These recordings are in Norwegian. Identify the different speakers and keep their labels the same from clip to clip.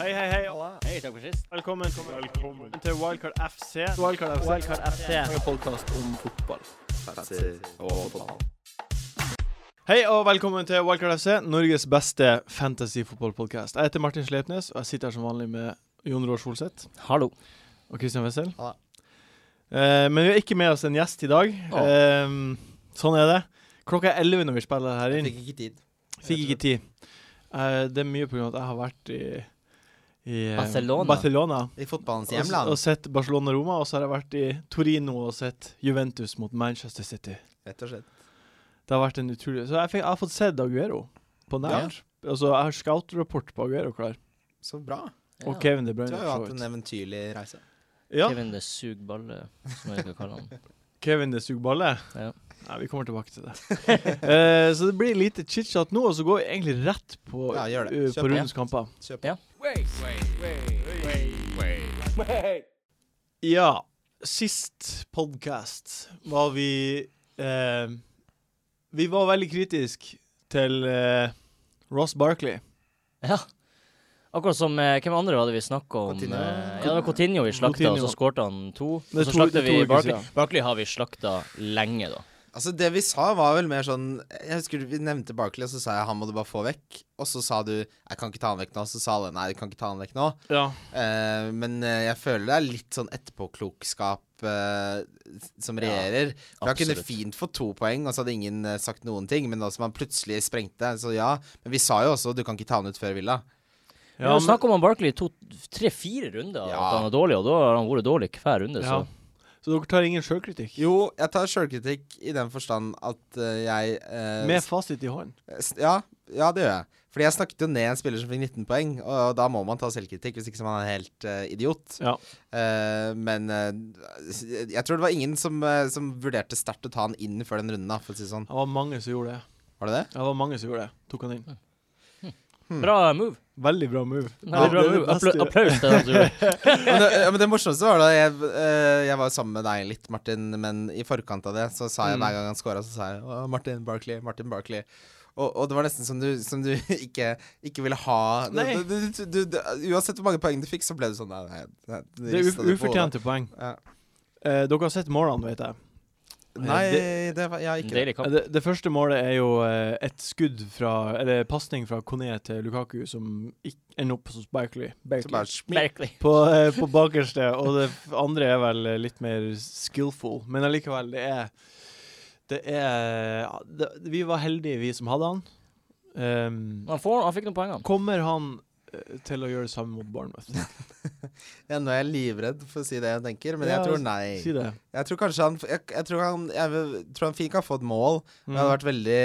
Speaker 1: Hei, hei, hei.
Speaker 2: Hei, takk for sist.
Speaker 1: Velkommen, til Wildcard FC.
Speaker 3: Wildcard FC.
Speaker 2: Wildcard FC.
Speaker 3: En podkast om fotball. eh,
Speaker 1: Hei og velkommen til Wildcard FC, Norges beste fantasy-fotballpodkast. Jeg heter Martin Sleipnes, og jeg sitter her som vanlig med Jon Roar Solseth
Speaker 2: Hallo.
Speaker 1: og Christian Wessel.
Speaker 3: Ja.
Speaker 1: Eh, men vi har ikke med oss en gjest i dag.
Speaker 3: Å.
Speaker 1: Eh, sånn er det. Klokka er 11 når vi spiller her inn.
Speaker 3: Fikk ikke tid.
Speaker 1: Fikk ikke tid. Eh, det er mye pga. at jeg har vært i, i eh,
Speaker 2: Barcelona.
Speaker 1: Barcelona.
Speaker 3: I fotballens
Speaker 1: Og, s-
Speaker 3: hjemland,
Speaker 1: og sett Barcelona-Roma, og så har jeg vært i Torino og sett Juventus mot Manchester City.
Speaker 3: rett og slett.
Speaker 1: Det har vært en utrolig Så jeg, fikk, jeg har fått sett Aguero på nært. Altså, jeg har scout-rapport på Aguero klar.
Speaker 3: Så bra.
Speaker 1: Og Kevin De
Speaker 3: Du
Speaker 1: Bruyne.
Speaker 3: har
Speaker 1: for så
Speaker 3: jo hatt en eh,
Speaker 1: vidt.
Speaker 3: eventyrlig reise.
Speaker 1: Ja,
Speaker 2: Kevin det sugballe, som jeg skal kalle han.
Speaker 1: Kevin det suger balle.
Speaker 2: Ja.
Speaker 1: Nei, vi kommer tilbake til det. Eh, så det blir lite chit-chat nå, og så går vi egentlig rett på,
Speaker 3: Ja, gjør det.
Speaker 1: eh, på
Speaker 3: Kjør på.
Speaker 1: rundens kamper.
Speaker 3: Kjøp.
Speaker 2: Ja.
Speaker 1: Ja, sist podkast var vi eh, Vi var veldig kritiske til eh, Ross Barkley.
Speaker 2: Ja. Akkurat som eh, Hvem andre hadde vi snakka om?
Speaker 3: Coutinho.
Speaker 2: Eh, ja, det var Coutinho vi slakta,
Speaker 1: Coutinho.
Speaker 2: og så skårte han to. Og
Speaker 1: Det er
Speaker 2: så
Speaker 1: to-
Speaker 2: slakta
Speaker 1: det er to
Speaker 2: vi
Speaker 1: uker
Speaker 2: Barkley.
Speaker 1: siden.
Speaker 2: Barkley har vi slakta lenge, da.
Speaker 3: Altså, det vi sa, var vel mer sånn Jeg husker vi nevnte Barkley, og så sa jeg han må du bare få vekk. Og så sa du jeg kan ikke ta han vekk nå. Så sa alle nei, du kan ikke ta han vekk nå.
Speaker 1: Ja.
Speaker 3: Eh, men eh, jeg føler det er litt sånn etterpåklokskap eh, som regjerer. For han kunne
Speaker 2: absolutt.
Speaker 3: fint fått to poeng, og så hadde ingen eh, sagt noen ting. Men da som han plutselig sprengte, så ja. Men vi sa jo også du kan ikke ta han ut før Villa.
Speaker 2: Vi har snakka om han Barkley i to, tre-fire runder,
Speaker 3: Ja.
Speaker 2: at han er dårlig, og da har han vært dårlig hver runde,
Speaker 1: ja.
Speaker 2: så
Speaker 1: Så dere tar ingen sjølkritikk?
Speaker 3: Jo, jeg tar sjølkritikk i den forstand at eh, jeg eh,
Speaker 1: Med fasit i hånd.
Speaker 3: s- ja, ja, det gjør jeg. Fordi jeg snakket jo ned en spiller som fikk 19 poeng, og, da må man ta selvkritikk, hvis ikke så er man er helt eh, idiot.
Speaker 1: Ja.
Speaker 3: Eh, men eh, jeg tror det var ingen som, eh, som vurderte sterkt å ta han inn før den runden, da, for å si det sånn.
Speaker 1: Det var mange som gjorde det.
Speaker 3: Var det det?
Speaker 1: Det var mange som gjorde det. Tok han inn.
Speaker 2: Bra move.
Speaker 1: Veldig bra move.
Speaker 2: Veldig bra move. Appla applaus til den som gjorde det.
Speaker 3: men, det, ja, men det morsomste var da jeg, eh, jeg var sammen med deg litt, Martin, men i forkant av det så sa jeg
Speaker 1: Mm.
Speaker 3: hver gang han scora, så sa jeg «Å, Martin Barkley, Martin Barkley. Og, og det var nesten som du, som du ikke, ikke ville ha du,
Speaker 1: Nei.
Speaker 3: du, du, du, du, Uansett hvor mange poeng du fikk, så ble du sånn Nei, nei, nei du
Speaker 1: Det er uf
Speaker 3: ristet det på hodet».
Speaker 1: ufortjente poeng.
Speaker 3: Ja.
Speaker 1: Eh, dere har sett målene, vet jeg.
Speaker 3: Nei, det var ja, ikke det.
Speaker 2: Deilig kamp.
Speaker 1: Det, det første målet er jo eh, et skudd fra Eller pasning fra Kone til Lukaku som ikk- ender opp hos Barkley.
Speaker 3: Så
Speaker 1: Barkley.
Speaker 3: bare smikk.
Speaker 2: Merkelig.
Speaker 1: På, eh, på bakerste. Og det f- andre er vel eh, litt mer skillful. Men allikevel, det er Det er ja, det, Vi var heldige, vi som hadde han. Ehm,
Speaker 2: Han, får, han fikk noen poeng, han.
Speaker 1: kommer han eh, til å gjøre det samme mot Bournemouth?
Speaker 3: Ja, nå er jeg livredd for å si det jeg tenker, men
Speaker 1: Ja,
Speaker 3: jeg tror
Speaker 1: Si
Speaker 3: nei.
Speaker 1: det.
Speaker 3: Jeg tror kanskje han Jeg, jeg, tror, han, jeg vil- tror han fint kan få et mål. Men jeg hadde vært veldig,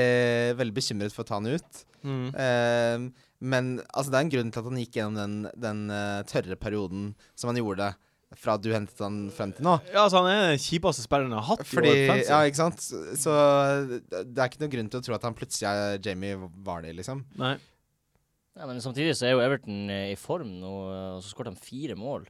Speaker 3: veldig bekymret for å ta han ut.
Speaker 1: Mm.
Speaker 3: Ehm, men altså, det er en grunn til at han gikk gjennom den, den eh, tørre perioden som han gjorde fra du hentet han frem til nå.
Speaker 1: Ja, altså Han er den kjipeste spilleren jeg har hatt.
Speaker 3: Fordi,
Speaker 1: i World Fantasy.
Speaker 3: ja, ikke sant? Så så det er ikke noen grunn til å tro at han plutselig er Jamie Vardy, liksom.
Speaker 1: Nei.
Speaker 2: Ja, men samtidig så er jo Everton eh, i form nå, eh, og så skåret han fire mål.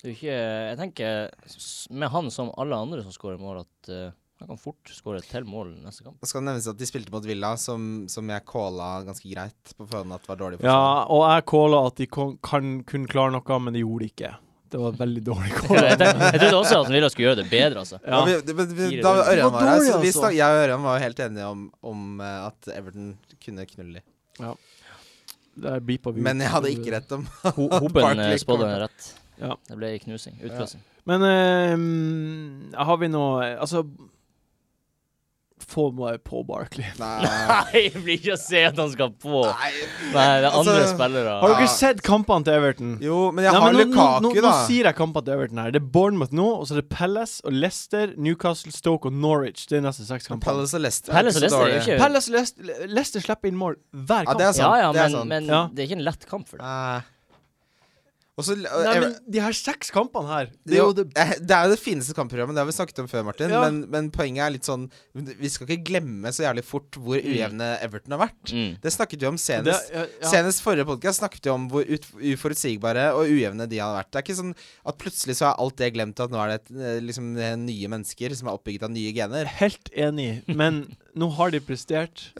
Speaker 2: Det er jo ikke eh, Jeg tenker, s- med han som alle andre som skårer mål, at eh, han kan fort skåre til mål neste kamp.
Speaker 3: Og skal det nevnes at de spilte mot Villa, som, som jeg calla ganske greit på forhånd at var dårlig for
Speaker 1: Ja, og jeg calla at de kon- kan kunne klare noe, men de gjorde det ikke. Det var veldig dårlig call.
Speaker 2: jeg, tenk, jeg trodde også at Villa skulle gjøre det bedre, altså.
Speaker 1: Ja.
Speaker 3: vi, det, men vi,
Speaker 2: Fire
Speaker 3: da
Speaker 2: dårlig.
Speaker 3: Ørjan
Speaker 1: Det var
Speaker 3: var her,
Speaker 1: dårlig,
Speaker 3: så vi
Speaker 1: altså.
Speaker 3: snak, jeg og Ørjan var jo helt enige om, om eh, at Everton kunne knulle de.
Speaker 1: Der beepa vi ut.
Speaker 3: Men jeg hadde ikke rett om
Speaker 2: Ho Hoben eh,
Speaker 3: Barkley
Speaker 2: spådde
Speaker 3: kommer.
Speaker 2: rett.
Speaker 1: Ja.
Speaker 2: Det ble knusing. Utklassing.
Speaker 1: Men ehm, har vi noe Altså Få meg på Barkley.
Speaker 3: Nei.
Speaker 2: Nei, det blir ikke å se at han skal på!
Speaker 3: Nei.
Speaker 2: Nei, det er andre
Speaker 3: Altså,
Speaker 2: spillere.
Speaker 1: Har dere
Speaker 3: Ja.
Speaker 1: sett kampene til Everton?
Speaker 3: Jo, men jeg
Speaker 1: Nei,
Speaker 3: har
Speaker 1: men nå,
Speaker 3: Lukaku,
Speaker 1: nå, nå,
Speaker 3: da.
Speaker 1: nå sier jeg kampene til Everton her. Det er Bournemouth nå, og så er det Palace og Leicester, Newcastle, Stoke og Norwich. Det er neste seks kamper.
Speaker 3: Palace og Leicester. ikke
Speaker 2: Palace og
Speaker 3: så
Speaker 2: Leicester er jo
Speaker 3: dårlig.
Speaker 2: ikke
Speaker 1: Palace og Leicester, Leicester slipper inn mål hver
Speaker 3: Ja,
Speaker 1: kamp.
Speaker 3: det er
Speaker 2: Ja,
Speaker 3: sant.
Speaker 2: ja,
Speaker 3: det er
Speaker 2: men,
Speaker 3: sant.
Speaker 2: men
Speaker 1: Ja.
Speaker 2: det er ikke en lett kamp for dem.
Speaker 3: Eh, og så-
Speaker 1: Nei,
Speaker 3: eh,
Speaker 1: men de her seks kampene her,
Speaker 3: det,
Speaker 1: det er jo det
Speaker 3: eh, det er jo det fineste kampprogrammet, det har vi snakket om før, Martin.
Speaker 1: Ja.
Speaker 3: Men, men poenget er litt sånn Vi skal ikke glemme så jævlig fort hvor ujevne Everton har vært.
Speaker 2: Mm.
Speaker 3: Det snakket vi om
Speaker 1: det,
Speaker 3: senest.
Speaker 1: ja, ja.
Speaker 3: Senest forrige podkast snakket vi om hvor ut, uforutsigbare og ujevne de hadde vært. Det er ikke sånn at plutselig så er alt det glemt, og at nå er det et, eh, liksom eh, nye mennesker som er oppbygget av nye gener.
Speaker 1: Helt enig, men nå har de prestert.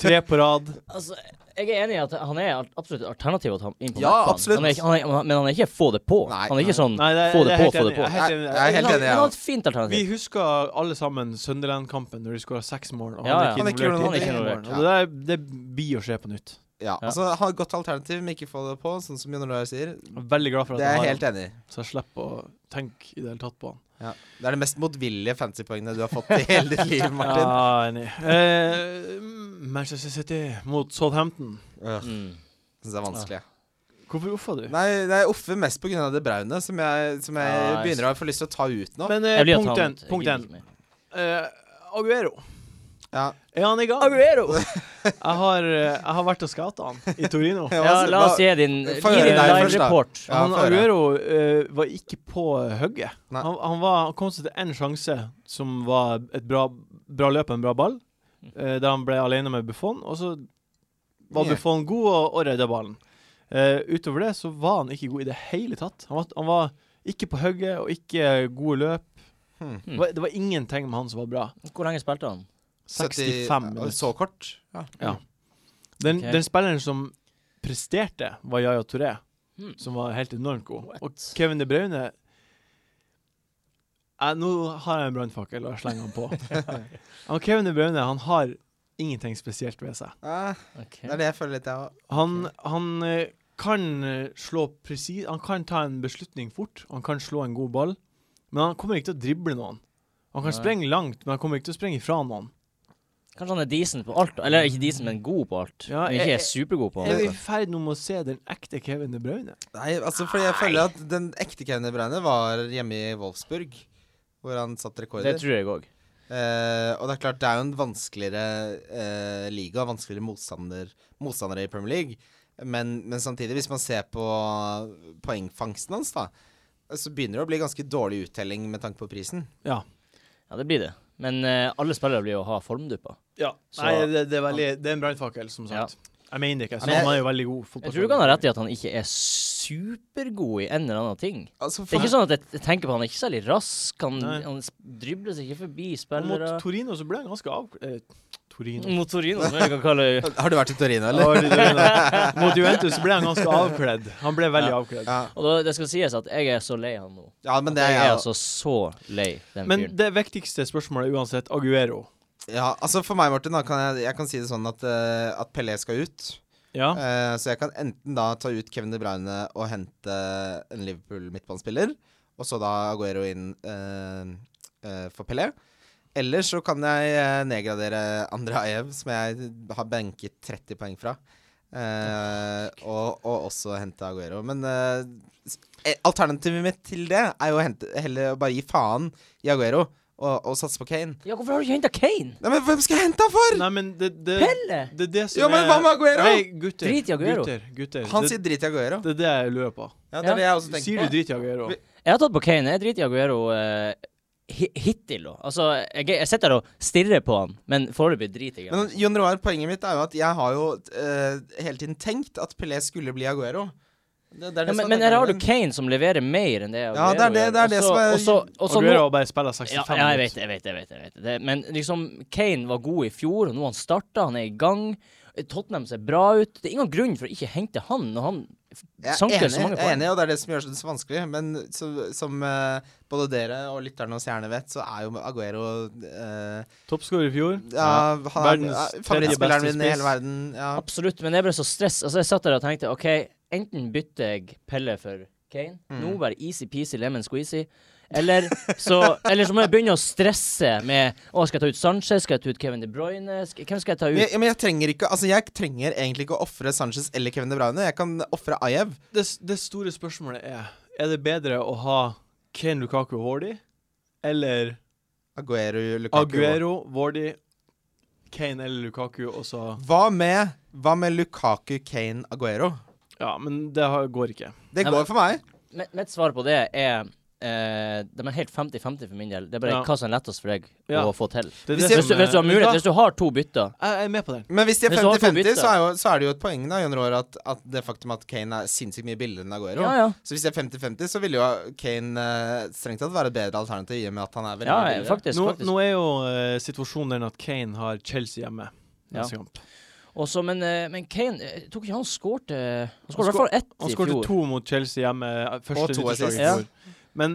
Speaker 1: Tre på rad.
Speaker 2: Altså, jeg er enig i at han er alt- absolutt et alternativ å ta inn på
Speaker 3: Ja,
Speaker 2: midtbanen.
Speaker 3: absolutt.
Speaker 2: Han er ikke, han er, men han er ikke få det på.
Speaker 3: Nei,
Speaker 2: han er ikke sånn
Speaker 1: Nei, det,
Speaker 2: få
Speaker 1: det
Speaker 2: det
Speaker 1: er
Speaker 2: på,
Speaker 1: helt
Speaker 2: få
Speaker 1: enig.
Speaker 2: det på.
Speaker 1: Jeg er helt enig.
Speaker 3: Jeg er helt
Speaker 2: Men han-
Speaker 3: enig,
Speaker 2: men
Speaker 3: ja.
Speaker 2: Han har et fint
Speaker 1: Vi
Speaker 2: alternativ.
Speaker 1: husker alle sammen Sunderland-kampen når de skåra seks mål, og
Speaker 2: Ja, ja.
Speaker 1: han er ikke
Speaker 2: Han er
Speaker 1: involvert.
Speaker 2: ikke
Speaker 1: i det.
Speaker 2: involvert.
Speaker 1: Og det, der, det blir å skje på nytt.
Speaker 3: Ja, altså ha et godt alternativ, men ikke få det på, sånn som Jon Roar sier.
Speaker 1: Jeg er veldig glad for at
Speaker 3: Det er
Speaker 1: jeg
Speaker 3: jeg
Speaker 1: har
Speaker 3: helt enig i.
Speaker 1: han, så jeg slipper å tenke i det hele tatt på han.
Speaker 3: Ja. Det er de mest motvillige fantasypoengene du har fått i hele ditt liv, Martin.
Speaker 1: Ja, enig. Eh, Manchester City mot Southampton.
Speaker 3: Øh,
Speaker 2: Mm.
Speaker 3: Syns det er vanskelig.
Speaker 1: Hvorfor uffa du?
Speaker 3: Nei, det er Offe mest pga. det braune, som jeg, som jeg
Speaker 2: Ja, jeg
Speaker 3: begynner å få lyst til å ta ut nå.
Speaker 1: Men eh,
Speaker 2: Jeg blir å ta
Speaker 1: punkt
Speaker 2: han
Speaker 1: én.
Speaker 2: ut. Jeg
Speaker 1: Punkt
Speaker 2: gidder
Speaker 1: én.
Speaker 2: ikke mer.
Speaker 1: Eh, Aguero.
Speaker 3: ja.
Speaker 1: Er han i gang? Aguero! jeg, har, eh, jeg har vært og skata han i Torino.
Speaker 3: Ja,
Speaker 2: Ja,
Speaker 3: altså,
Speaker 2: la
Speaker 3: hva-
Speaker 2: oss gi din, gi
Speaker 3: Få høre
Speaker 2: din
Speaker 3: deg først, da.
Speaker 2: live-report.
Speaker 3: Ja,
Speaker 1: han
Speaker 3: få høre.
Speaker 1: Aguero eh, var ikke på hugget.
Speaker 3: Nei.
Speaker 1: Han, han, var, han kom seg til én sjanse, som var et bra, bra løp og en bra ball, eh, der han ble alene med Buffon. Og så var
Speaker 3: Ja.
Speaker 1: Buffon god og, og redda ballen. Eh, utover det så var han ikke god i det hele tatt. Han var, han var ikke på hugget og ikke gode løp.
Speaker 3: Hmm.
Speaker 1: Det, var, det var ingenting med han som var bra.
Speaker 2: Hvor lenge spilte han?
Speaker 1: 65
Speaker 3: ja,
Speaker 1: minutter.
Speaker 3: Så kort? Ja.
Speaker 1: Ja. Den,
Speaker 2: Ok.
Speaker 1: den spilleren som presterte, var Yaya Touré,
Speaker 2: Hmm.
Speaker 1: som var helt enormt god.
Speaker 2: What?
Speaker 1: Og Kevin De Bruyne Eh, Nå har jeg en brannfakkel og slenger den på. han Kevin De Bruyne han har ingenting spesielt ved seg.
Speaker 3: Ah,
Speaker 2: Ok.
Speaker 3: det er det jeg føler litt, jeg òg.
Speaker 1: Han, han eh, kan eh, slå presis Han kan ta en beslutning fort, han kan slå en god ball, men han kommer ikke til å drible noen. Han kan
Speaker 2: Nei.
Speaker 1: sprenge langt, men han kommer ikke til å sprenge ifra noen.
Speaker 2: Kanskje han er decent på alt? Eller ikke decent, men god på alt.
Speaker 1: Ja,
Speaker 2: men ikke
Speaker 1: jeg-
Speaker 2: er supergod på
Speaker 1: Er vi i
Speaker 2: alt.
Speaker 1: ferd nå med å se den ekte Kevin De Bruyne?
Speaker 3: Nei, altså, fordi jeg føler at den ekte Kevin De Bruyne var hjemme i Wolfsburg, hvor han satte rekorder.
Speaker 2: Det tror jeg òg.
Speaker 3: Eh, og det er klart, det er jo en vanskeligere eh, liga, vanskeligere motstander, motstandere i Premier League. Men, men samtidig, hvis man ser på poengfangsten hans, da, så begynner det å bli ganske dårlig uttelling med tanke på prisen.
Speaker 1: Ja.
Speaker 2: Ja, det blir det. Men eh, alle spillere blir jo å ha formdupper.
Speaker 1: Ja,
Speaker 2: Så-
Speaker 1: nei, det, det, er veldig, det er en brannfakkel, som sagt. Jeg mener ikke, jeg synes
Speaker 3: Men jeg-
Speaker 1: han er jo veldig god
Speaker 2: Jeg tror du kan ha rett i at han ikke er supergod i en eller annen ting.
Speaker 3: Altså,
Speaker 2: Det er
Speaker 3: for-
Speaker 2: ikke sånn at jeg jeg tenker på han er ikke særlig rask. Han,
Speaker 1: Nei.
Speaker 2: han s- dribler seg ikke forbi
Speaker 1: Og mot
Speaker 2: spillere.
Speaker 1: Torino så ble han ganske av... Eh, Torino.
Speaker 2: Mot Torino, som jeg kan kalle
Speaker 3: Har du vært i Torino,
Speaker 1: Ja, det
Speaker 3: eller?
Speaker 1: var det Torino. mot Juventus så ble han ganske avkledd. Han ble veldig avkledd.
Speaker 3: Ja,
Speaker 2: Og da, det skal sies at jeg er så lei han nå.
Speaker 3: ja men det er
Speaker 2: jeg er
Speaker 3: jeg også.
Speaker 2: altså så lei den
Speaker 1: Men
Speaker 2: fyren.
Speaker 1: det viktigste spørsmålet er uansett Aguero.
Speaker 3: Ja, altså for meg, Martin, da kan jeg, jeg kan si det sånn at, eh, at Pelé skal ut.
Speaker 1: Ja.
Speaker 3: Eh, så jeg kan enten da ta ut Kevin De Bruyne og hente en Liverpool-midtbanespiller, og så da Aguero inn eh, eh, for Pelé. Eller så kan jeg eh, nedgradere Andraev, som jeg har benket 30 poeng fra. Eh, og, og også hente Aguero. Men eh, s- eh, alternativet mitt til det er jo å hente, heller å bare gi faen i Aguero og, og satse på Kane.
Speaker 2: Ja, hvorfor har du ikke henta Kane?
Speaker 3: Nei, men hvem skal jeg hente han for?!
Speaker 1: Nei, men det, det,
Speaker 2: Pelle!
Speaker 1: det er det som
Speaker 3: Jo, men hva med Aguero?
Speaker 1: Nei, gutter.
Speaker 2: Drit i Aguero.
Speaker 1: Gutter, gutter.
Speaker 3: Han
Speaker 1: det,
Speaker 3: sier drit i Aguero.
Speaker 1: det er det jeg lurer på.
Speaker 3: Ja, det
Speaker 2: Ja.
Speaker 3: er det jeg også tenker
Speaker 1: Sier du drit i Aguero?
Speaker 2: Jeg har tatt på Kane. Jeg driter i Aguero eh, hi- hittil, da. Altså, jeg, jeg sitter her og stirrer på han, men foreløpig driter jeg i han.
Speaker 3: Men Jon Roar, poenget mitt er jo at jeg har jo eh, hele tiden tenkt at Pelé skulle bli Aguero. Det, det er det
Speaker 2: Ja,
Speaker 3: som
Speaker 2: men,
Speaker 3: er
Speaker 2: men her har du
Speaker 3: tankegangen.
Speaker 2: Kane som leverer mer enn det Aguero
Speaker 3: Ja, det er det-
Speaker 2: gjør.
Speaker 3: det er det
Speaker 2: Også-
Speaker 3: som er-
Speaker 2: også- også nå-
Speaker 1: Aguero bare spiller
Speaker 2: ja,
Speaker 1: 65
Speaker 2: ja, jeg vet det, jeg vet det. jeg vet det, jeg vet det. det. Men liksom, Kane var god i fjor, og nå har han starta, han er i gang. Tottenham ser bra ut. Det er ingen grunn for å ikke hente han når han f-
Speaker 3: Jeg er
Speaker 2: sanker så
Speaker 3: enig,
Speaker 2: mange
Speaker 3: jeg er
Speaker 2: poeng.
Speaker 3: enig, og det er det som gjør det så vanskelig. Men så, som eh, både dere og lytterne og seerne vet, så er jo Aguero eh,
Speaker 1: Toppskårer i fjor.
Speaker 3: ja, han er,
Speaker 1: Verdens
Speaker 3: ja,
Speaker 1: tredje
Speaker 3: favorittspilleren
Speaker 1: beste
Speaker 3: min i hele
Speaker 1: spiss.
Speaker 3: verden. Ja.
Speaker 2: Absolutt, men jeg ble så stress. Altså, jeg satt der og tenkte OK, enten bytter jeg Pelle for Kane.
Speaker 1: Mm.
Speaker 2: Nå bare easy-peasy lemon squeezy. Eller så, eller så må jeg begynne å stresse med Å, skal jeg ta ut Sanchez? Skal jeg ta ut Kevin De Bruyne? Sk hvem skal jeg ta
Speaker 3: Men,
Speaker 2: ut?
Speaker 3: jeg, men jeg trenger ikke Altså jeg trenger egentlig ikke å ofre Sanchez eller Kevin De Bruyne. Jeg kan ofre Ayev.
Speaker 1: det, det store spørsmålet er Er det bedre å ha Kane Lukaku og Wardy eller
Speaker 3: Aguero, Lukaku.
Speaker 1: Aguero, Wardy, Kane eller Lukaku, og så
Speaker 3: Hva med, hva med Lukaku, Kane, Aguero?
Speaker 1: Ja, men det har, går ikke.
Speaker 3: Det
Speaker 2: Nei,
Speaker 3: går
Speaker 2: men-
Speaker 3: for meg.
Speaker 2: Mitt mitt svar på det er eh, De er helt 50-50 for min del. Det er bare
Speaker 1: Ja.
Speaker 2: hva som er lettest for deg
Speaker 1: Ja.
Speaker 2: å få til.
Speaker 1: Det er
Speaker 3: Hvis
Speaker 1: det
Speaker 2: Hvis du,
Speaker 1: som er-
Speaker 2: hvis du har mulighet,
Speaker 1: Vet
Speaker 2: hvis
Speaker 1: du hva?
Speaker 2: du har to bytter
Speaker 1: Jeg er med på den.
Speaker 3: Men hvis de er
Speaker 2: Hvis du har to
Speaker 3: 50-50,
Speaker 2: bytte.
Speaker 3: så, er jo- så er det jo et poeng da, Jon Roar, at, at det faktum at Kane er sinnssykt mye billigere enn Aguero.
Speaker 2: Ja, ja.
Speaker 3: Så hvis de er 50-50, så ville jo Kane eh, strengt tatt være et bedre alternativ i og med at han er veldig
Speaker 2: Ja,
Speaker 3: billigere.
Speaker 2: faktisk.
Speaker 1: Nå,
Speaker 2: faktisk.
Speaker 1: nå er jo eh, situasjonen den at Kane har Chelsea hjemme.
Speaker 2: Ja.
Speaker 1: neste kamp.
Speaker 2: Og så, men, eh, men Kane eh, Tok ikke han skårte Han skårte i
Speaker 1: Han
Speaker 2: hvert fall ett
Speaker 1: Han
Speaker 2: i
Speaker 1: skåret
Speaker 2: fjor.
Speaker 1: to mot Chelsea hjemme eh, første
Speaker 3: Og to
Speaker 1: nyttårsdag i
Speaker 3: assist.
Speaker 2: Ja.
Speaker 1: fjor. Men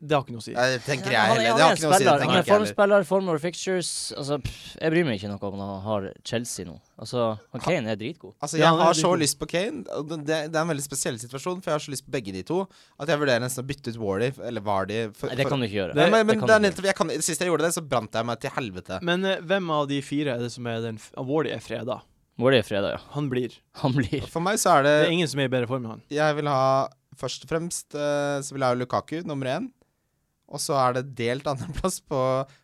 Speaker 1: det har ikke noe å si.
Speaker 3: Jeg tenker jeg
Speaker 2: Han
Speaker 3: heller.
Speaker 2: er- han
Speaker 3: Det
Speaker 2: er
Speaker 3: har
Speaker 2: en
Speaker 3: ikke noe å si.
Speaker 2: spiller,
Speaker 3: Det
Speaker 2: Han
Speaker 3: tenker
Speaker 2: er
Speaker 3: jeg heller.
Speaker 2: formspiller, form over fixtures. Altså, pff, jeg bryr meg ikke noe om han har Chelsea nå. Altså, han Kane er dritgod.
Speaker 3: Altså,
Speaker 1: Ja,
Speaker 3: jeg
Speaker 1: han er
Speaker 3: har
Speaker 1: veldig
Speaker 3: så
Speaker 1: god.
Speaker 3: lyst på Kane. og Det, det det er en veldig spesiell situasjon, for jeg har så lyst på begge de to at jeg vurderer nesten å bytte ut Wardy eller Vardy. For,
Speaker 2: Nei, det kan du ikke gjøre.
Speaker 3: Nei, men, men det er
Speaker 2: kan du ikke
Speaker 3: nettopp, jeg kan, Sist jeg gjorde det, så brant jeg meg til helvete.
Speaker 1: Men eh, hvem av de fire er det som er den f- Wardy er freda.
Speaker 2: gjøre. Vår er fredag, ja.
Speaker 1: Han blir.
Speaker 2: Han blir
Speaker 3: For meg så er det
Speaker 1: Det er ingen som er i bedre form enn han.
Speaker 3: Jeg vil ha først og fremst eh, Så vil jeg ha Lukaku, nummer én. Og så er det delt andreplass på,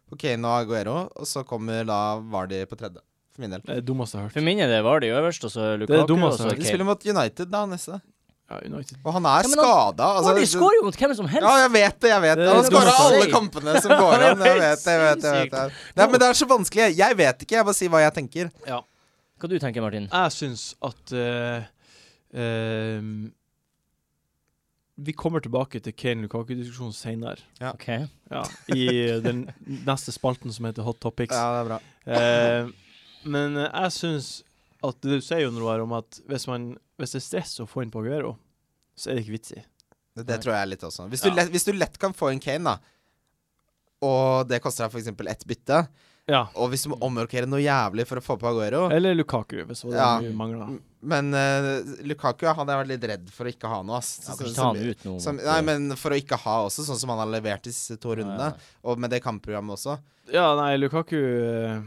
Speaker 3: på Kane og Aguero, og så kommer da Vardy på tredje. For min del.
Speaker 1: Det er det dummeste jeg har hørt.
Speaker 2: For min er det Vardy øverst, og så Lukaku,
Speaker 1: det
Speaker 2: og
Speaker 1: dummeste
Speaker 2: så
Speaker 1: jeg har hørt.
Speaker 3: De
Speaker 2: Kane.
Speaker 3: spiller mot United da, neste.
Speaker 1: Ja, United.
Speaker 3: Og han er
Speaker 2: Ja, men han-
Speaker 3: skada.
Speaker 2: Vardy skårer jo mot hvem som helst!
Speaker 3: Altså, Ja, jeg vet det. jeg vet det
Speaker 1: Det er
Speaker 3: Han
Speaker 1: det
Speaker 3: skårer
Speaker 1: dummeste.
Speaker 3: alle kampene som går
Speaker 2: Det er
Speaker 3: an. Jeg vet det. jeg vet det, jeg vet det. Nei, Men det er så vanskelig. Jeg vet ikke. Jeg bare sier hva jeg tenker.
Speaker 2: Hva du tenker Martin?
Speaker 1: Jeg syns at eh, eh, Vi kommer tilbake til Kane Lukaku-diskusjonen senere.
Speaker 2: Ok.
Speaker 1: Ja, I den neste spalten som heter Hot Topics.
Speaker 3: Ja, det er bra.
Speaker 1: Eh, men eh, jeg syns at du sier jo noe her om at hvis, man, hvis det er stress å få inn på Aguero, så er det ikke vits i.
Speaker 3: Det, det
Speaker 2: Nei.
Speaker 3: tror jeg litt også. Hvis du,
Speaker 1: Ja.
Speaker 3: lett, hvis du lett kan få en Kane, da, og det koster deg f.eks. ett bytte,
Speaker 1: Ja.
Speaker 3: og hvis du må omrokere noe jævlig for å få på Aguero
Speaker 1: Eller Lukaku, hvis det var det
Speaker 3: Ja.
Speaker 1: du mangla.
Speaker 3: Men eh, Lukaku han hadde jeg vært litt redd for å ikke ha noe. Ass.
Speaker 2: Ja,
Speaker 3: Så-
Speaker 2: kan
Speaker 3: så-
Speaker 2: ikke ta han ut nå.
Speaker 3: som,
Speaker 2: mot,
Speaker 3: nei,
Speaker 2: eh,
Speaker 3: men for å ikke ha også, sånn som han har levert disse to rundene,
Speaker 2: ja, ja.
Speaker 3: og med det kampprogrammet også.
Speaker 1: Ja, nei, Lukaku eh,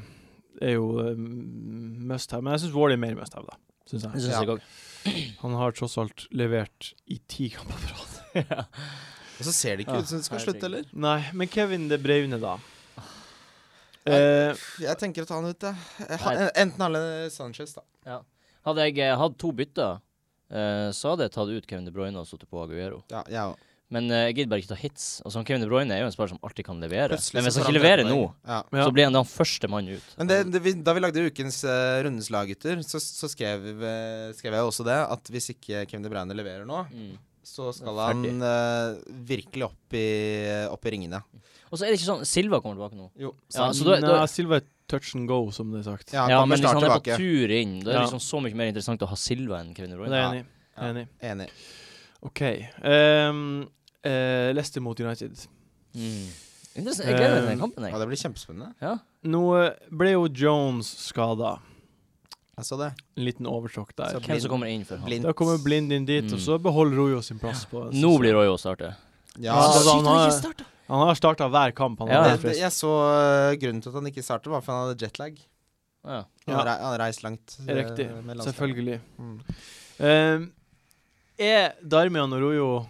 Speaker 1: er jo eh, must have, men jeg syns Wally er mer must have, da. Synes
Speaker 2: Det
Speaker 1: jeg.
Speaker 2: synes
Speaker 3: Ja.
Speaker 2: jeg òg.
Speaker 1: Han har tross alt levert i ti kamper på rad.
Speaker 3: Og så ser det ikke
Speaker 2: Ah,
Speaker 3: ut som det skal
Speaker 2: herregud.
Speaker 3: slutte heller.
Speaker 1: Nei, men Kevin De Braune, da. Eh,
Speaker 3: Jeg tenker å ta han ut, jeg. jeg.
Speaker 2: Nei.
Speaker 3: har- Enten han eller Sanchez, da.
Speaker 2: Hadde jeg eh, hatt to bytter, eh, så hadde jeg tatt ut Kevin De Bruyne og sittet på Aguero.
Speaker 3: Ja, jeg òg.
Speaker 2: Men eh, jeg gidder bare ikke ta hits. Altså, Kevin De Bruyne er jo en spiller som alltid kan levere.
Speaker 3: Plutselig
Speaker 2: men hvis
Speaker 3: så
Speaker 2: han ikke
Speaker 3: forandrer
Speaker 2: leverer
Speaker 3: det
Speaker 2: nå,
Speaker 3: poeng. ja.
Speaker 1: ja.
Speaker 2: så blir han den første mann ut.
Speaker 3: Men det, det, vi, da vi lagde ukens uh, Rundens lag, gutter, så, så skrev, eh, skrev jeg også det. At hvis ikke Kevin De Bruyne leverer nå,
Speaker 2: Mm.
Speaker 3: så skal han
Speaker 2: Ferdig.
Speaker 3: eh, virkelig opp i, opp i ringene.
Speaker 2: Og så er det ikke sånn Silva kommer tilbake nå.
Speaker 3: Jo.
Speaker 2: Ja,
Speaker 3: sant.
Speaker 2: så da, da,
Speaker 1: nei, Silva er touch and go, som det er sagt.
Speaker 3: ja, han
Speaker 2: ja,
Speaker 3: kommer
Speaker 2: men hvis
Speaker 3: snart
Speaker 2: han er på
Speaker 3: tilbake.
Speaker 2: tur inn, da er det
Speaker 1: Ja.
Speaker 2: liksom så mye mer interessant å ha Silva enn Kevin De
Speaker 1: Det
Speaker 2: Bruyne.
Speaker 1: er
Speaker 3: Ja.
Speaker 1: jeg enig. i. Jeg er Enig. i.
Speaker 3: Enig.
Speaker 1: OK. Um, eh, Leicester mot United.
Speaker 2: Mm. Interessant. Jeg gleder meg til den
Speaker 1: Eh,
Speaker 2: kampen,
Speaker 3: Ja,
Speaker 2: jeg.
Speaker 3: det blir kjempespennende.
Speaker 1: Nå eh, ble jo Jones skada.
Speaker 3: Jeg så det.
Speaker 1: En liten oversjokk der.
Speaker 3: Så-
Speaker 2: Hvem som kommer inn for han.
Speaker 3: Blindt.
Speaker 1: Da kommer Blind inn dit, og
Speaker 2: Mm.
Speaker 1: så beholder Rojo sin plass. på
Speaker 2: Nå blir Roy å starte.
Speaker 3: Ja,
Speaker 1: Ja,
Speaker 3: så-
Speaker 1: altså, han har-
Speaker 2: starta!
Speaker 1: Han har starta hver kamp. Han
Speaker 2: Ja.
Speaker 1: har
Speaker 3: det,
Speaker 1: vært
Speaker 3: det,
Speaker 1: frisk.
Speaker 3: jeg så eh, grunnen til at han ikke startet, var for han hadde jetlag.
Speaker 2: Ja.
Speaker 3: Han
Speaker 1: Ja.
Speaker 3: har rei- han har reist langt. eh,
Speaker 1: Riktig.
Speaker 3: med landslaget.
Speaker 1: Selvfølgelig.
Speaker 3: Mm.
Speaker 1: Um, er Darmian og Rojo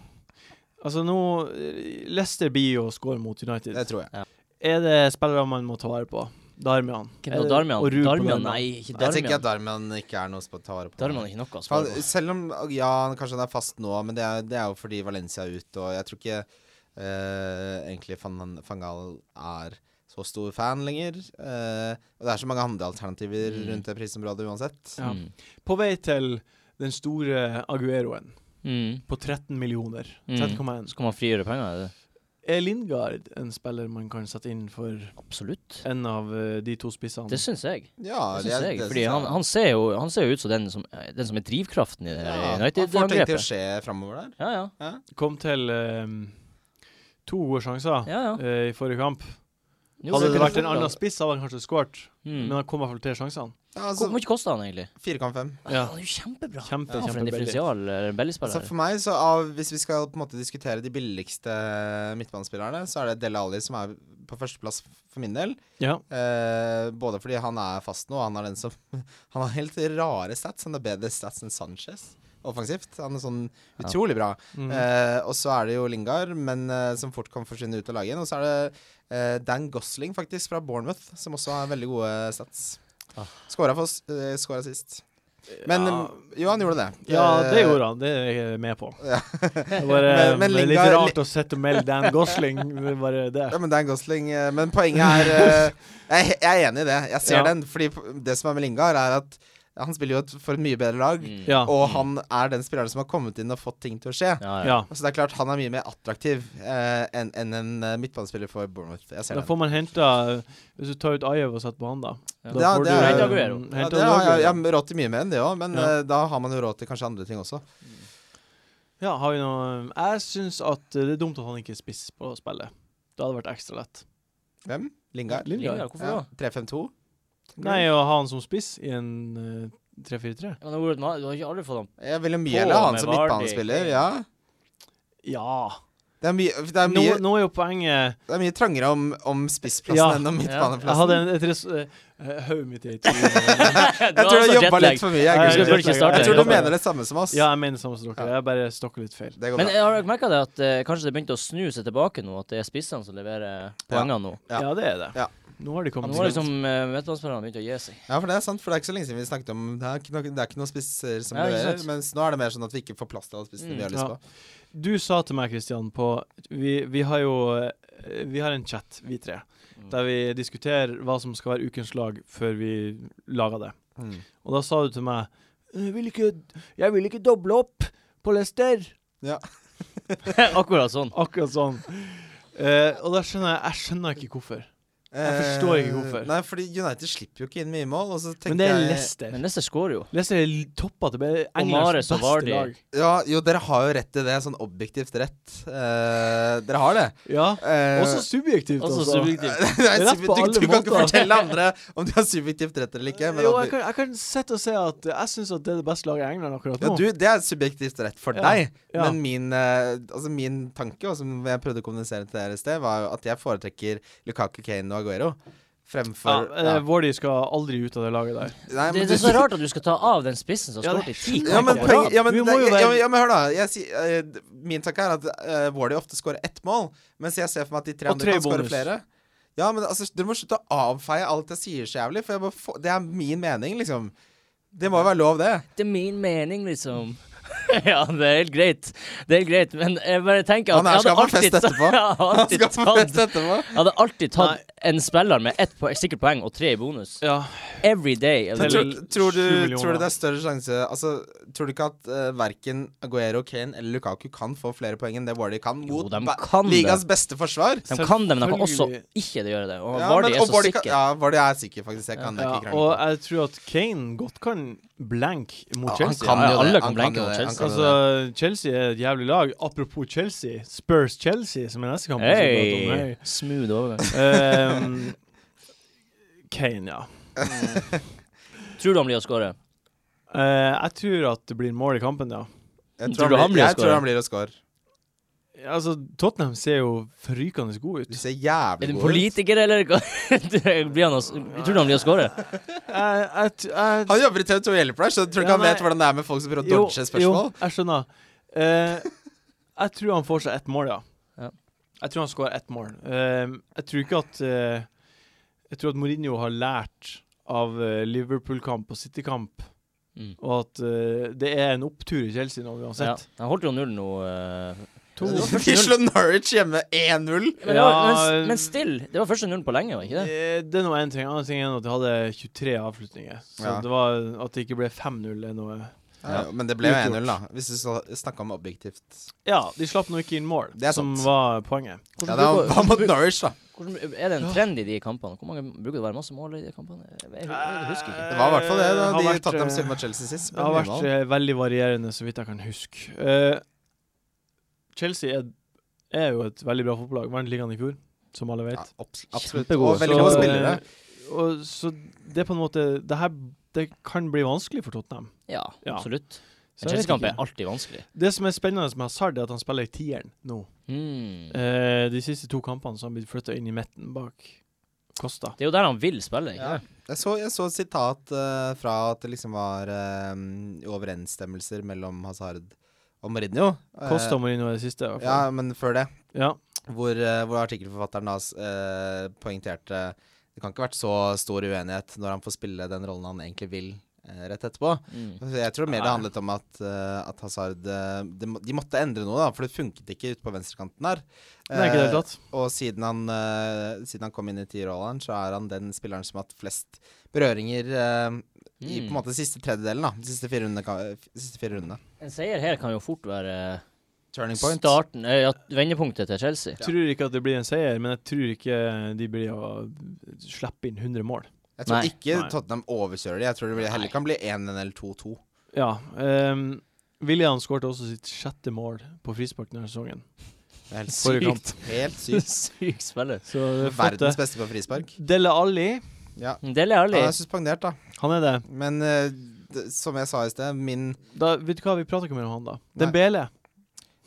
Speaker 1: Altså, nå eh, Leicester blir jo å score mot United.
Speaker 3: Det tror jeg.
Speaker 1: Er det spillere man må ta vare på? Darmian.
Speaker 2: Hvem
Speaker 1: Er
Speaker 2: da?
Speaker 1: det-
Speaker 2: Darmian?
Speaker 1: og Ruud på
Speaker 2: Darmian?
Speaker 1: den, da.
Speaker 2: Nei, ikke
Speaker 3: Jeg tenker at
Speaker 2: Darmian.
Speaker 3: Darmian ikke er noe å ta vare på.
Speaker 2: Darmian er ikke noe å
Speaker 3: Han,
Speaker 2: svare på.
Speaker 3: selv om ja, han kanskje han er fast nå, men det er, det er jo fordi Valencia er ute, og jeg tror ikke eh, egentlig van, van Gaal er så stor fan lenger. Eh, og det er så mange andre alternativer
Speaker 2: Mm.
Speaker 3: rundt det prisområdet uansett.
Speaker 1: Ja.
Speaker 2: Mm.
Speaker 1: På vei til den store Agueroen
Speaker 2: Mm.
Speaker 1: på 13 millioner.
Speaker 2: Mm.
Speaker 1: 13,1.
Speaker 2: Skal man frigjøre penger? Er det?
Speaker 1: Er Lindgard en spiller man kan sette inn for
Speaker 2: Absolutt.
Speaker 1: en av eh, de to spissene?
Speaker 2: Det syns jeg.
Speaker 3: Ja,
Speaker 2: Det
Speaker 3: det-
Speaker 2: synes jeg.
Speaker 3: det synes
Speaker 2: Fordi
Speaker 3: jeg.
Speaker 2: han, han, ser jo, han ser jo ut som den som, den som er drivkraften i det her
Speaker 3: Ja, han får ting til å
Speaker 2: United-angrepet.
Speaker 3: skje framover der.
Speaker 2: Ja, ja.
Speaker 1: Kom til eh, to gode sjanser
Speaker 2: ja, ja.
Speaker 1: eh, i forrige kamp.
Speaker 2: Jo,
Speaker 1: hadde
Speaker 2: så
Speaker 1: det
Speaker 2: kunne
Speaker 1: vært en
Speaker 2: fort-
Speaker 1: annen spiss, hadde han kanskje skåret.
Speaker 2: mm.
Speaker 1: Men han kom i hvert fall til sjansene.
Speaker 3: Ja,
Speaker 2: Hvor
Speaker 3: altså,
Speaker 2: mye kosta han egentlig?
Speaker 3: 4,5.
Speaker 1: Ja.
Speaker 2: Han er jo kjempebra.
Speaker 1: Kjempe,
Speaker 2: Ja, for en
Speaker 1: kjempebillig.
Speaker 2: differensial eh, eller en
Speaker 3: Så
Speaker 2: billigspiller.
Speaker 3: for meg, så av, hvis vi skal på en måte diskutere de billigste midtbanespillerne, så er det Dele Alli som er på førsteplass for min del.
Speaker 1: Ja.
Speaker 3: Eh, både fordi han er fast nå, og han er den som Han har helt rare stats. Han har bedre stats enn Sanchez offensivt. Han er sånn utrolig bra.
Speaker 1: Mm.
Speaker 3: Eh, og så er det jo Lingard, men eh, som fort kan forsvinne ut av laget igjen. Og så er det eh, Dan Gosling, faktisk, fra Bournemouth, som også har veldig gode eh, stats.
Speaker 2: Ah.
Speaker 3: Skåra for oss, eh, skåra sist. Men
Speaker 1: ja.
Speaker 3: eh, jo, han gjorde det.
Speaker 1: ja, det
Speaker 3: Eh,
Speaker 1: gjorde han. Det er jeg med på.
Speaker 3: Ja.
Speaker 1: Det var eh,
Speaker 3: Men- men
Speaker 1: det er litt
Speaker 3: Lingard-
Speaker 1: rart å sette og melde Dan Gosling. Det er bare det.
Speaker 3: Ja, men Dan Gosling eh, Men poenget er eh, jeg, jeg er enig i det. Jeg ser
Speaker 1: Ja.
Speaker 3: den. Fordi p- det som er med Lingard, er at Han spiller jo et, for et mye bedre lag,
Speaker 2: Mm.
Speaker 1: Ja.
Speaker 3: og han er den spilleren som har kommet inn og fått ting til å skje.
Speaker 2: Ja, ja.
Speaker 1: ja.
Speaker 3: Så det er klart, han er mye mer attraktiv eh, enn enn en eh, midtbanespiller for Bournemouth. Jeg ser
Speaker 1: Da
Speaker 3: den.
Speaker 1: får man henta Hvis du tar ut Ajev og setter på han, da.
Speaker 2: Ja.
Speaker 1: da
Speaker 3: Ja,
Speaker 1: får du,
Speaker 3: det er-
Speaker 1: eh,
Speaker 2: Hent Aguero.
Speaker 1: hent
Speaker 3: Ja, det har jeg, jeg
Speaker 1: Aguero.
Speaker 3: har råd til mye mer enn det òg, men
Speaker 1: altså. Ja.
Speaker 3: eh, da har man jo råd til kanskje andre ting også.
Speaker 1: Ja, har vi noe Jeg syns at eh, det er dumt at han ikke er spiss på spillet. Det hadde vært ekstra lett.
Speaker 3: Hvem? Lingard?
Speaker 2: Lingard, hvorfor
Speaker 3: Ja.
Speaker 2: da?
Speaker 3: 3-5-2?
Speaker 1: Nei, å ha han som spiss i en eh, 3-4-3
Speaker 2: Men det har vært ma- du har ikke aldri fått ham
Speaker 3: Jeg ville
Speaker 2: På
Speaker 3: mye heller ha han
Speaker 2: med
Speaker 3: som
Speaker 2: Vardy.
Speaker 3: midtbanespiller, ja.
Speaker 1: Ja.
Speaker 3: Det er mye, det er
Speaker 1: Nå,
Speaker 3: mye,
Speaker 1: nå er jo poenget
Speaker 3: det er mye trangere om, om spissplassen
Speaker 1: Ja,
Speaker 3: enn om
Speaker 1: Jeg hadde
Speaker 3: midtbaneplassen.
Speaker 1: en, et res... eh, eh, Hodet mitt er i tvil.
Speaker 3: Jeg tror
Speaker 2: altså
Speaker 3: du har jobba litt for mye.
Speaker 1: Eh, Jeg
Speaker 3: Jeg,
Speaker 1: bør ikke starte.
Speaker 3: jeg tror
Speaker 1: Jeg
Speaker 3: du
Speaker 1: jobber.
Speaker 3: mener det samme som oss.
Speaker 1: Ja, jeg mener det samme som dere.
Speaker 3: Ja.
Speaker 1: Jeg bare stokker litt feil.
Speaker 3: Det går
Speaker 2: Men
Speaker 3: bra.
Speaker 2: eh, jeg har dere merka det at eh, kanskje det begynte å snu seg tilbake nå? At det er spissene som leverer eh, poengene nå?
Speaker 3: Ja.
Speaker 1: Ja, det er det.
Speaker 3: Ja.
Speaker 1: Nå har de
Speaker 2: Ja,
Speaker 1: kommet
Speaker 2: Nå har liksom eh, midtbanespillerne begynt å gi seg.
Speaker 3: Ja, for det er sant, for det er ikke så lenge siden vi snakket om Det er ikke noe, det er ikke noen spisser som
Speaker 2: Ja, ikke
Speaker 3: leverer,
Speaker 2: sant.
Speaker 3: mens nå er det mer sånn at vi ikke får plass til alle spissene vi har
Speaker 1: Mm,
Speaker 3: lyst
Speaker 1: ja.
Speaker 3: på.
Speaker 1: Du sa til meg, Kristian, på vi, vi har jo eh, Vi har en chat, vi tre,
Speaker 2: Mm.
Speaker 1: der vi diskuterer hva som skal være ukens lag før vi lager det.
Speaker 3: Mm.
Speaker 1: Og da sa du til meg Jeg vil ikke, jeg vil ikke doble opp på Lester.
Speaker 2: Akkurat sånn.
Speaker 1: Akkurat sånn. Eh, og da skjønner jeg Jeg skjønner ikke hvorfor. Jeg forstår ikke hvorfor.
Speaker 3: Eh, Nei, fordi United slipper jo ikke inn mye mål, og så
Speaker 1: Men
Speaker 3: tenker
Speaker 1: det er
Speaker 3: jeg
Speaker 1: Lester.
Speaker 2: Men Leicester skårer jo.
Speaker 1: Lester er toppa til
Speaker 2: Mahrez
Speaker 1: Englands
Speaker 2: og Vardy.
Speaker 1: beste lag.
Speaker 3: Ja, jo, dere har jo rett i det, sånn objektivt rett. Eh, dere har det.
Speaker 1: Ja.
Speaker 3: Eh,
Speaker 1: Også subjektivt,
Speaker 2: Også
Speaker 1: altså.
Speaker 2: subjektivt.
Speaker 3: Nei,
Speaker 1: Rett
Speaker 3: subjektivt-
Speaker 1: på alle
Speaker 3: du, du kan ikke
Speaker 1: måter.
Speaker 3: fortelle andre om de har subjektivt rett eller ikke. Men
Speaker 1: jo,
Speaker 3: at
Speaker 1: jeg
Speaker 3: du,
Speaker 1: kan, jeg kan sette og se at jeg syns at det er det beste laget i England akkurat
Speaker 3: ja,
Speaker 1: nå.
Speaker 3: du, det er subjektivt rett for
Speaker 1: Ja,
Speaker 3: deg,
Speaker 1: ja.
Speaker 3: men min, eh, altså min tanke, og som jeg prøvde å kommunisere til dere i sted, var jo at jeg foretrekker Lukaku Kane og Aguero fremfor
Speaker 1: ja, eh, Vardy skal aldri ut av det laget der.
Speaker 3: Nei,
Speaker 2: Det,
Speaker 3: men
Speaker 2: det er
Speaker 3: du-
Speaker 2: så rart at du skal ta av den spissen som
Speaker 1: Ja,
Speaker 2: har
Speaker 1: det-
Speaker 2: skåret i ti
Speaker 3: Ja, men,
Speaker 1: Ja,
Speaker 2: kamper.
Speaker 1: poeng-
Speaker 3: poeng- ja, men,
Speaker 1: vi må
Speaker 3: det-
Speaker 1: jo
Speaker 3: ja,
Speaker 1: være-
Speaker 3: men, ja, men hør, da. Jeg, sier, eh, d- min tanke er at uh, Wardy ofte skårer ett mål, mens jeg ser for meg at de tre
Speaker 1: Og
Speaker 3: andre
Speaker 1: tre
Speaker 3: kan skåre
Speaker 1: bonus.
Speaker 3: flere. Ja, men altså, Dere må slutte å avfeie alt jeg sier så jævlig, for jeg må få, det er min mening, liksom. Det må jo være lov, det.
Speaker 2: Det er min mening, liksom. ja, det er helt greit. Det er helt greit, men jeg bare tenker at
Speaker 3: Han her
Speaker 2: jeg
Speaker 3: skal
Speaker 2: hadde
Speaker 3: få fest
Speaker 2: alltid-
Speaker 3: etterpå.
Speaker 2: Jeg hadde
Speaker 3: Han
Speaker 2: alltid
Speaker 3: skal få
Speaker 2: tatt-
Speaker 3: fest etterpå.
Speaker 2: Jeg hadde alltid tatt en spiller med ett poeng, sikkert poeng og tre i bonus.
Speaker 1: Ja.
Speaker 2: Every day.
Speaker 1: Men
Speaker 3: Men
Speaker 2: Eller,
Speaker 1: tror-
Speaker 3: tror, tror,
Speaker 1: sju
Speaker 3: du,
Speaker 1: millioner,
Speaker 3: tror du
Speaker 1: da.
Speaker 3: det er større sjanse Altså, tror du ikke at uh, verken Aguero, Kane eller Lukaku kan få flere poeng enn det Wardy kan
Speaker 2: Jo,
Speaker 3: mot
Speaker 2: de
Speaker 3: ba-
Speaker 2: kan det.
Speaker 3: ligas beste forsvar?
Speaker 2: de kan det, men de kan også
Speaker 1: Selvfølgelig.
Speaker 2: ikke det gjøre det. Og
Speaker 3: Ja,
Speaker 2: Vardy
Speaker 3: men-
Speaker 2: er
Speaker 3: og
Speaker 2: så
Speaker 3: Vardy kan-
Speaker 2: sikker.
Speaker 3: Ja, Vardy er sikker, faktisk. Jeg kan det
Speaker 1: Ja,
Speaker 3: ikke krangle
Speaker 1: og
Speaker 3: på.
Speaker 1: jeg tror at Kane godt kan blank mot
Speaker 3: Ja, han
Speaker 1: Chelsea.
Speaker 3: kan jo
Speaker 2: Ja,
Speaker 3: det,
Speaker 2: alle
Speaker 3: han
Speaker 2: kan
Speaker 3: kan
Speaker 2: blenke
Speaker 3: jo
Speaker 2: mot
Speaker 3: det, han kan
Speaker 2: Chelsea.
Speaker 3: jo
Speaker 1: Altså, Chelsea er et jævlig lag. Apropos Chelsea, Spurs Chelsea, som er neste kamp. vi skal prate om.
Speaker 2: Hey, smooth overgang.
Speaker 1: Hei. Ehm, Kane, ja.
Speaker 2: Tror du han blir å skåre?
Speaker 1: Eh, jeg tror at det blir mål i kampen, ja.
Speaker 3: Jeg
Speaker 2: Tror
Speaker 3: tror,
Speaker 2: du
Speaker 3: han,
Speaker 2: han
Speaker 3: blir,
Speaker 2: blir å
Speaker 3: jeg tror
Speaker 2: score?
Speaker 3: han blir å score.
Speaker 1: Altså, Tottenham ser jo forrykende gode ut.
Speaker 3: Du ser
Speaker 2: Er
Speaker 3: jævlig
Speaker 2: du
Speaker 3: god ut.
Speaker 2: politiker, eller? hva? blir han å, s- tror du han blir å skåre?
Speaker 1: Jeg, jeg, t- jeg,
Speaker 3: Han jobber i TV2 Hjelper deg, så jeg tror ikke
Speaker 1: Ja,
Speaker 3: han vet
Speaker 1: nei.
Speaker 3: hvordan det er med folk som prøver å dodge spørsmål.
Speaker 1: Jo, jeg skjønner. Eh, jeg tror han får seg ett mål, ja.
Speaker 2: Ja.
Speaker 1: Jeg tror han skårer ett mål. Eh, jeg tror ikke at eh, Jeg tror at Mourinho har lært av eh, Liverpool-kamp og City-kamp,
Speaker 2: Mm.
Speaker 1: og at eh, det er en opptur i Chelsea nå
Speaker 2: Ja,
Speaker 1: uansett.
Speaker 2: han holdt jo null nå. eh.
Speaker 1: To.
Speaker 3: De slår Norwich hjemme 1-0.
Speaker 2: Men, det var,
Speaker 1: Ja,
Speaker 2: men, men still, det var første null på lenge, var ikke det?
Speaker 1: Eh, Det er noe en ting. Annen ting er at de hadde 23 avslutninger. Så
Speaker 3: Ja.
Speaker 1: det var at det ikke ble 5-0 er noe
Speaker 3: Ja, men det ble jo
Speaker 1: Utgjort.
Speaker 3: 1-0, da. Hvis du skal snakke om objektivt.
Speaker 1: Ja, de slapp nå ikke inn mål,
Speaker 3: Det er
Speaker 1: som
Speaker 3: sant.
Speaker 1: var poenget.
Speaker 3: Ja,
Speaker 2: Hvordan
Speaker 3: det
Speaker 2: bruker-
Speaker 3: var mot Norwich, da.
Speaker 2: hvordan- er det en trend i de kampene? Hvor mange bruker det å være masse mål i de kampene? Jeg, jeg, jeg husker ikke.
Speaker 3: Det var i hvert fall det da
Speaker 1: Eh, har
Speaker 3: de
Speaker 1: vært,
Speaker 3: tatt dem
Speaker 1: eh,
Speaker 3: selv mot Chelsea sist.
Speaker 1: Det har
Speaker 3: Ble
Speaker 1: vært
Speaker 3: nyvalg.
Speaker 1: eh, veldig varierende, så vidt jeg kan huske. Eh, Chelsea er, er jo et veldig bra fotballag. Vant ligaen i fjor, som alle
Speaker 3: ja,
Speaker 1: vet.
Speaker 3: abs- Absolutt.
Speaker 2: Kjempegod.
Speaker 3: Og veldig
Speaker 1: Så,
Speaker 3: gode
Speaker 1: eh,
Speaker 3: spillere.
Speaker 1: Og, så det er på en måte Det her det kan bli vanskelig for Tottenham.
Speaker 2: Ja,
Speaker 1: Ja.
Speaker 2: absolutt.
Speaker 1: Så jeg
Speaker 2: En
Speaker 1: vet
Speaker 2: Chelsea-kamp er
Speaker 1: ikke.
Speaker 2: alltid vanskelig.
Speaker 1: Det som er spennende med Hazard, er at han spiller i tieren nå.
Speaker 2: Hmm.
Speaker 1: Eh, de siste to kampene så har han blitt flytta inn i midten bak Costa.
Speaker 2: Det er jo der han vil spille, ikke
Speaker 3: Ja.
Speaker 2: det?
Speaker 3: Jeg så, jeg så et sitat eh, fra at det liksom var eh, overensstemmelser mellom Hazard og Mourinho. Eh,
Speaker 1: Costa og Mourinho er det siste. i hvert
Speaker 3: ja,
Speaker 1: fall.
Speaker 3: men før det.
Speaker 1: Ja.
Speaker 3: hvor, eh, hvor artikkelforfatteren da s- eh, poengterte det kan ikke ha vært så stor uenighet når han får spille den rollen han egentlig vil eh, rett etterpå.
Speaker 2: Mm.
Speaker 3: Så Jeg tror mer det
Speaker 1: Nei.
Speaker 3: handlet om at, eh, at Hazard eh, de, må- de måtte endre noe, da, for det funket ikke ute på venstrekanten her.
Speaker 1: Det er ikke det i det hele tatt.
Speaker 3: og siden han, eh, siden han kom inn i tierrolleren, så er han den spilleren som har hatt flest berøringer eh, i
Speaker 1: Mm.
Speaker 3: på en måte siste tredjedelen, da. De siste fire rundene. ka- f- Siste fire rundene.
Speaker 2: Mm. En seier her kan jo fort være
Speaker 3: Turning point.
Speaker 2: starten, eh, ja, vendepunktet til Chelsea.
Speaker 1: Jeg tror ikke at det blir en seier, men jeg tror ikke de blir å slippe inn 100 mål.
Speaker 3: Jeg tror
Speaker 2: Nei.
Speaker 3: ikke
Speaker 1: Nei.
Speaker 3: Tottenham overkjører de. Jeg tror det blir, heller
Speaker 2: Nei.
Speaker 3: kan bli 1-1 eller 2-2.
Speaker 1: Ja. Um, William skårte også sitt sjette mål på frispark denne sesongen.
Speaker 3: Det er Helt
Speaker 1: Forrige
Speaker 3: sykt.
Speaker 1: kamp.
Speaker 3: Helt sykt.
Speaker 2: Syk spiller.
Speaker 1: Så det er flott,
Speaker 3: Verdens
Speaker 1: det.
Speaker 3: beste på frispark.
Speaker 1: Dele Alli,
Speaker 3: Ja.
Speaker 2: Dele Alli.
Speaker 3: Han er suspendert, da.
Speaker 1: han er det.
Speaker 3: Men eh, d- som jeg sa i sted, min
Speaker 1: Da, vet du hva, vi prater ikke mer om han, da.
Speaker 3: Nei.
Speaker 1: Dembele.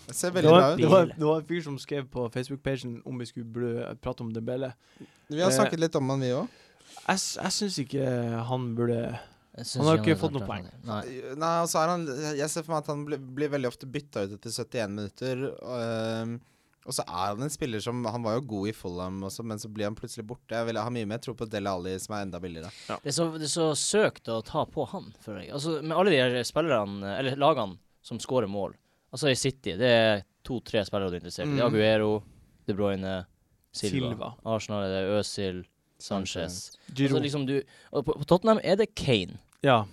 Speaker 3: det ser
Speaker 1: Det
Speaker 3: veldig bra
Speaker 1: var,
Speaker 3: ut.
Speaker 1: det, var, det var en fyr som skrev på Facebook-pagen om vi skulle burde prate om Dembele.
Speaker 3: Vi
Speaker 2: Eh.
Speaker 3: har snakket litt om han, vi òg.
Speaker 1: Jeg, s- jeg syns ikke han burde
Speaker 2: Jeg syns
Speaker 1: Han har ikke
Speaker 2: er
Speaker 1: fått
Speaker 2: helt
Speaker 1: noe
Speaker 2: klart
Speaker 1: poeng.
Speaker 2: han- Nei.
Speaker 3: Nei, og så er han Jeg ser for meg at han blir, blir veldig ofte bytta ut etter 71 minutter. Og, eh, og så er han en spiller som Han var jo god i Fulham også, men så blir han plutselig borte. Jeg vil ha mye mer tro på Dele Alli, som er enda billigere.
Speaker 2: Det er, så, det er så søkt å ta på han, føler jeg. Altså, med alle de her spillerne, eller lagene, som skårer mål. Altså i City, det er to-tre spillere du er interessert i. Det er
Speaker 3: Mhm.
Speaker 2: Aguero, De Bruyne, Silva.
Speaker 1: Silva.
Speaker 2: Arsenal er det Øzil, Sanchez.
Speaker 1: Giro.
Speaker 2: Altså, liksom du, og på, på Tottenham er det Kane.
Speaker 3: liksom-
Speaker 1: Ja.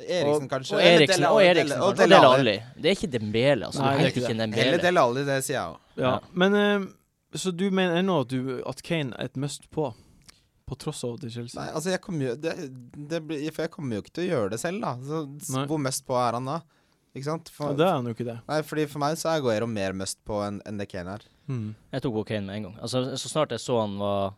Speaker 3: Eriksen, kanskje.
Speaker 2: Og
Speaker 3: Eller
Speaker 2: Eriksen.
Speaker 3: Dele
Speaker 2: Og
Speaker 3: Alli,
Speaker 2: Eriksen.
Speaker 3: Dele-
Speaker 2: Og Dele Alli. Det er ikke Dembele. Altså,
Speaker 1: Nei, det
Speaker 2: du
Speaker 1: er
Speaker 2: henter
Speaker 1: ikke
Speaker 2: ikke en
Speaker 3: Eller
Speaker 2: Dembele.
Speaker 3: Dele Alli, det sier jeg òg.
Speaker 1: ja.
Speaker 2: Ja.
Speaker 1: Men eh, Så du mener ennå at, du- at Kane er et must på? På tross av til Chelsea?
Speaker 3: Nei, altså jeg kommer jo det, det blir, For jeg kommer jo ikke til å gjøre det selv, da. Så, s-
Speaker 1: Nei.
Speaker 3: hvor must på er han da? Ikke sant?
Speaker 1: Ja,
Speaker 3: For,
Speaker 1: det er han jo ikke det.
Speaker 3: Nei, fordi for meg så er Guero mer must på enn enn det Kane er.
Speaker 1: Mm.
Speaker 2: Jeg tok på Kane med en gang. Altså, så snart jeg så han var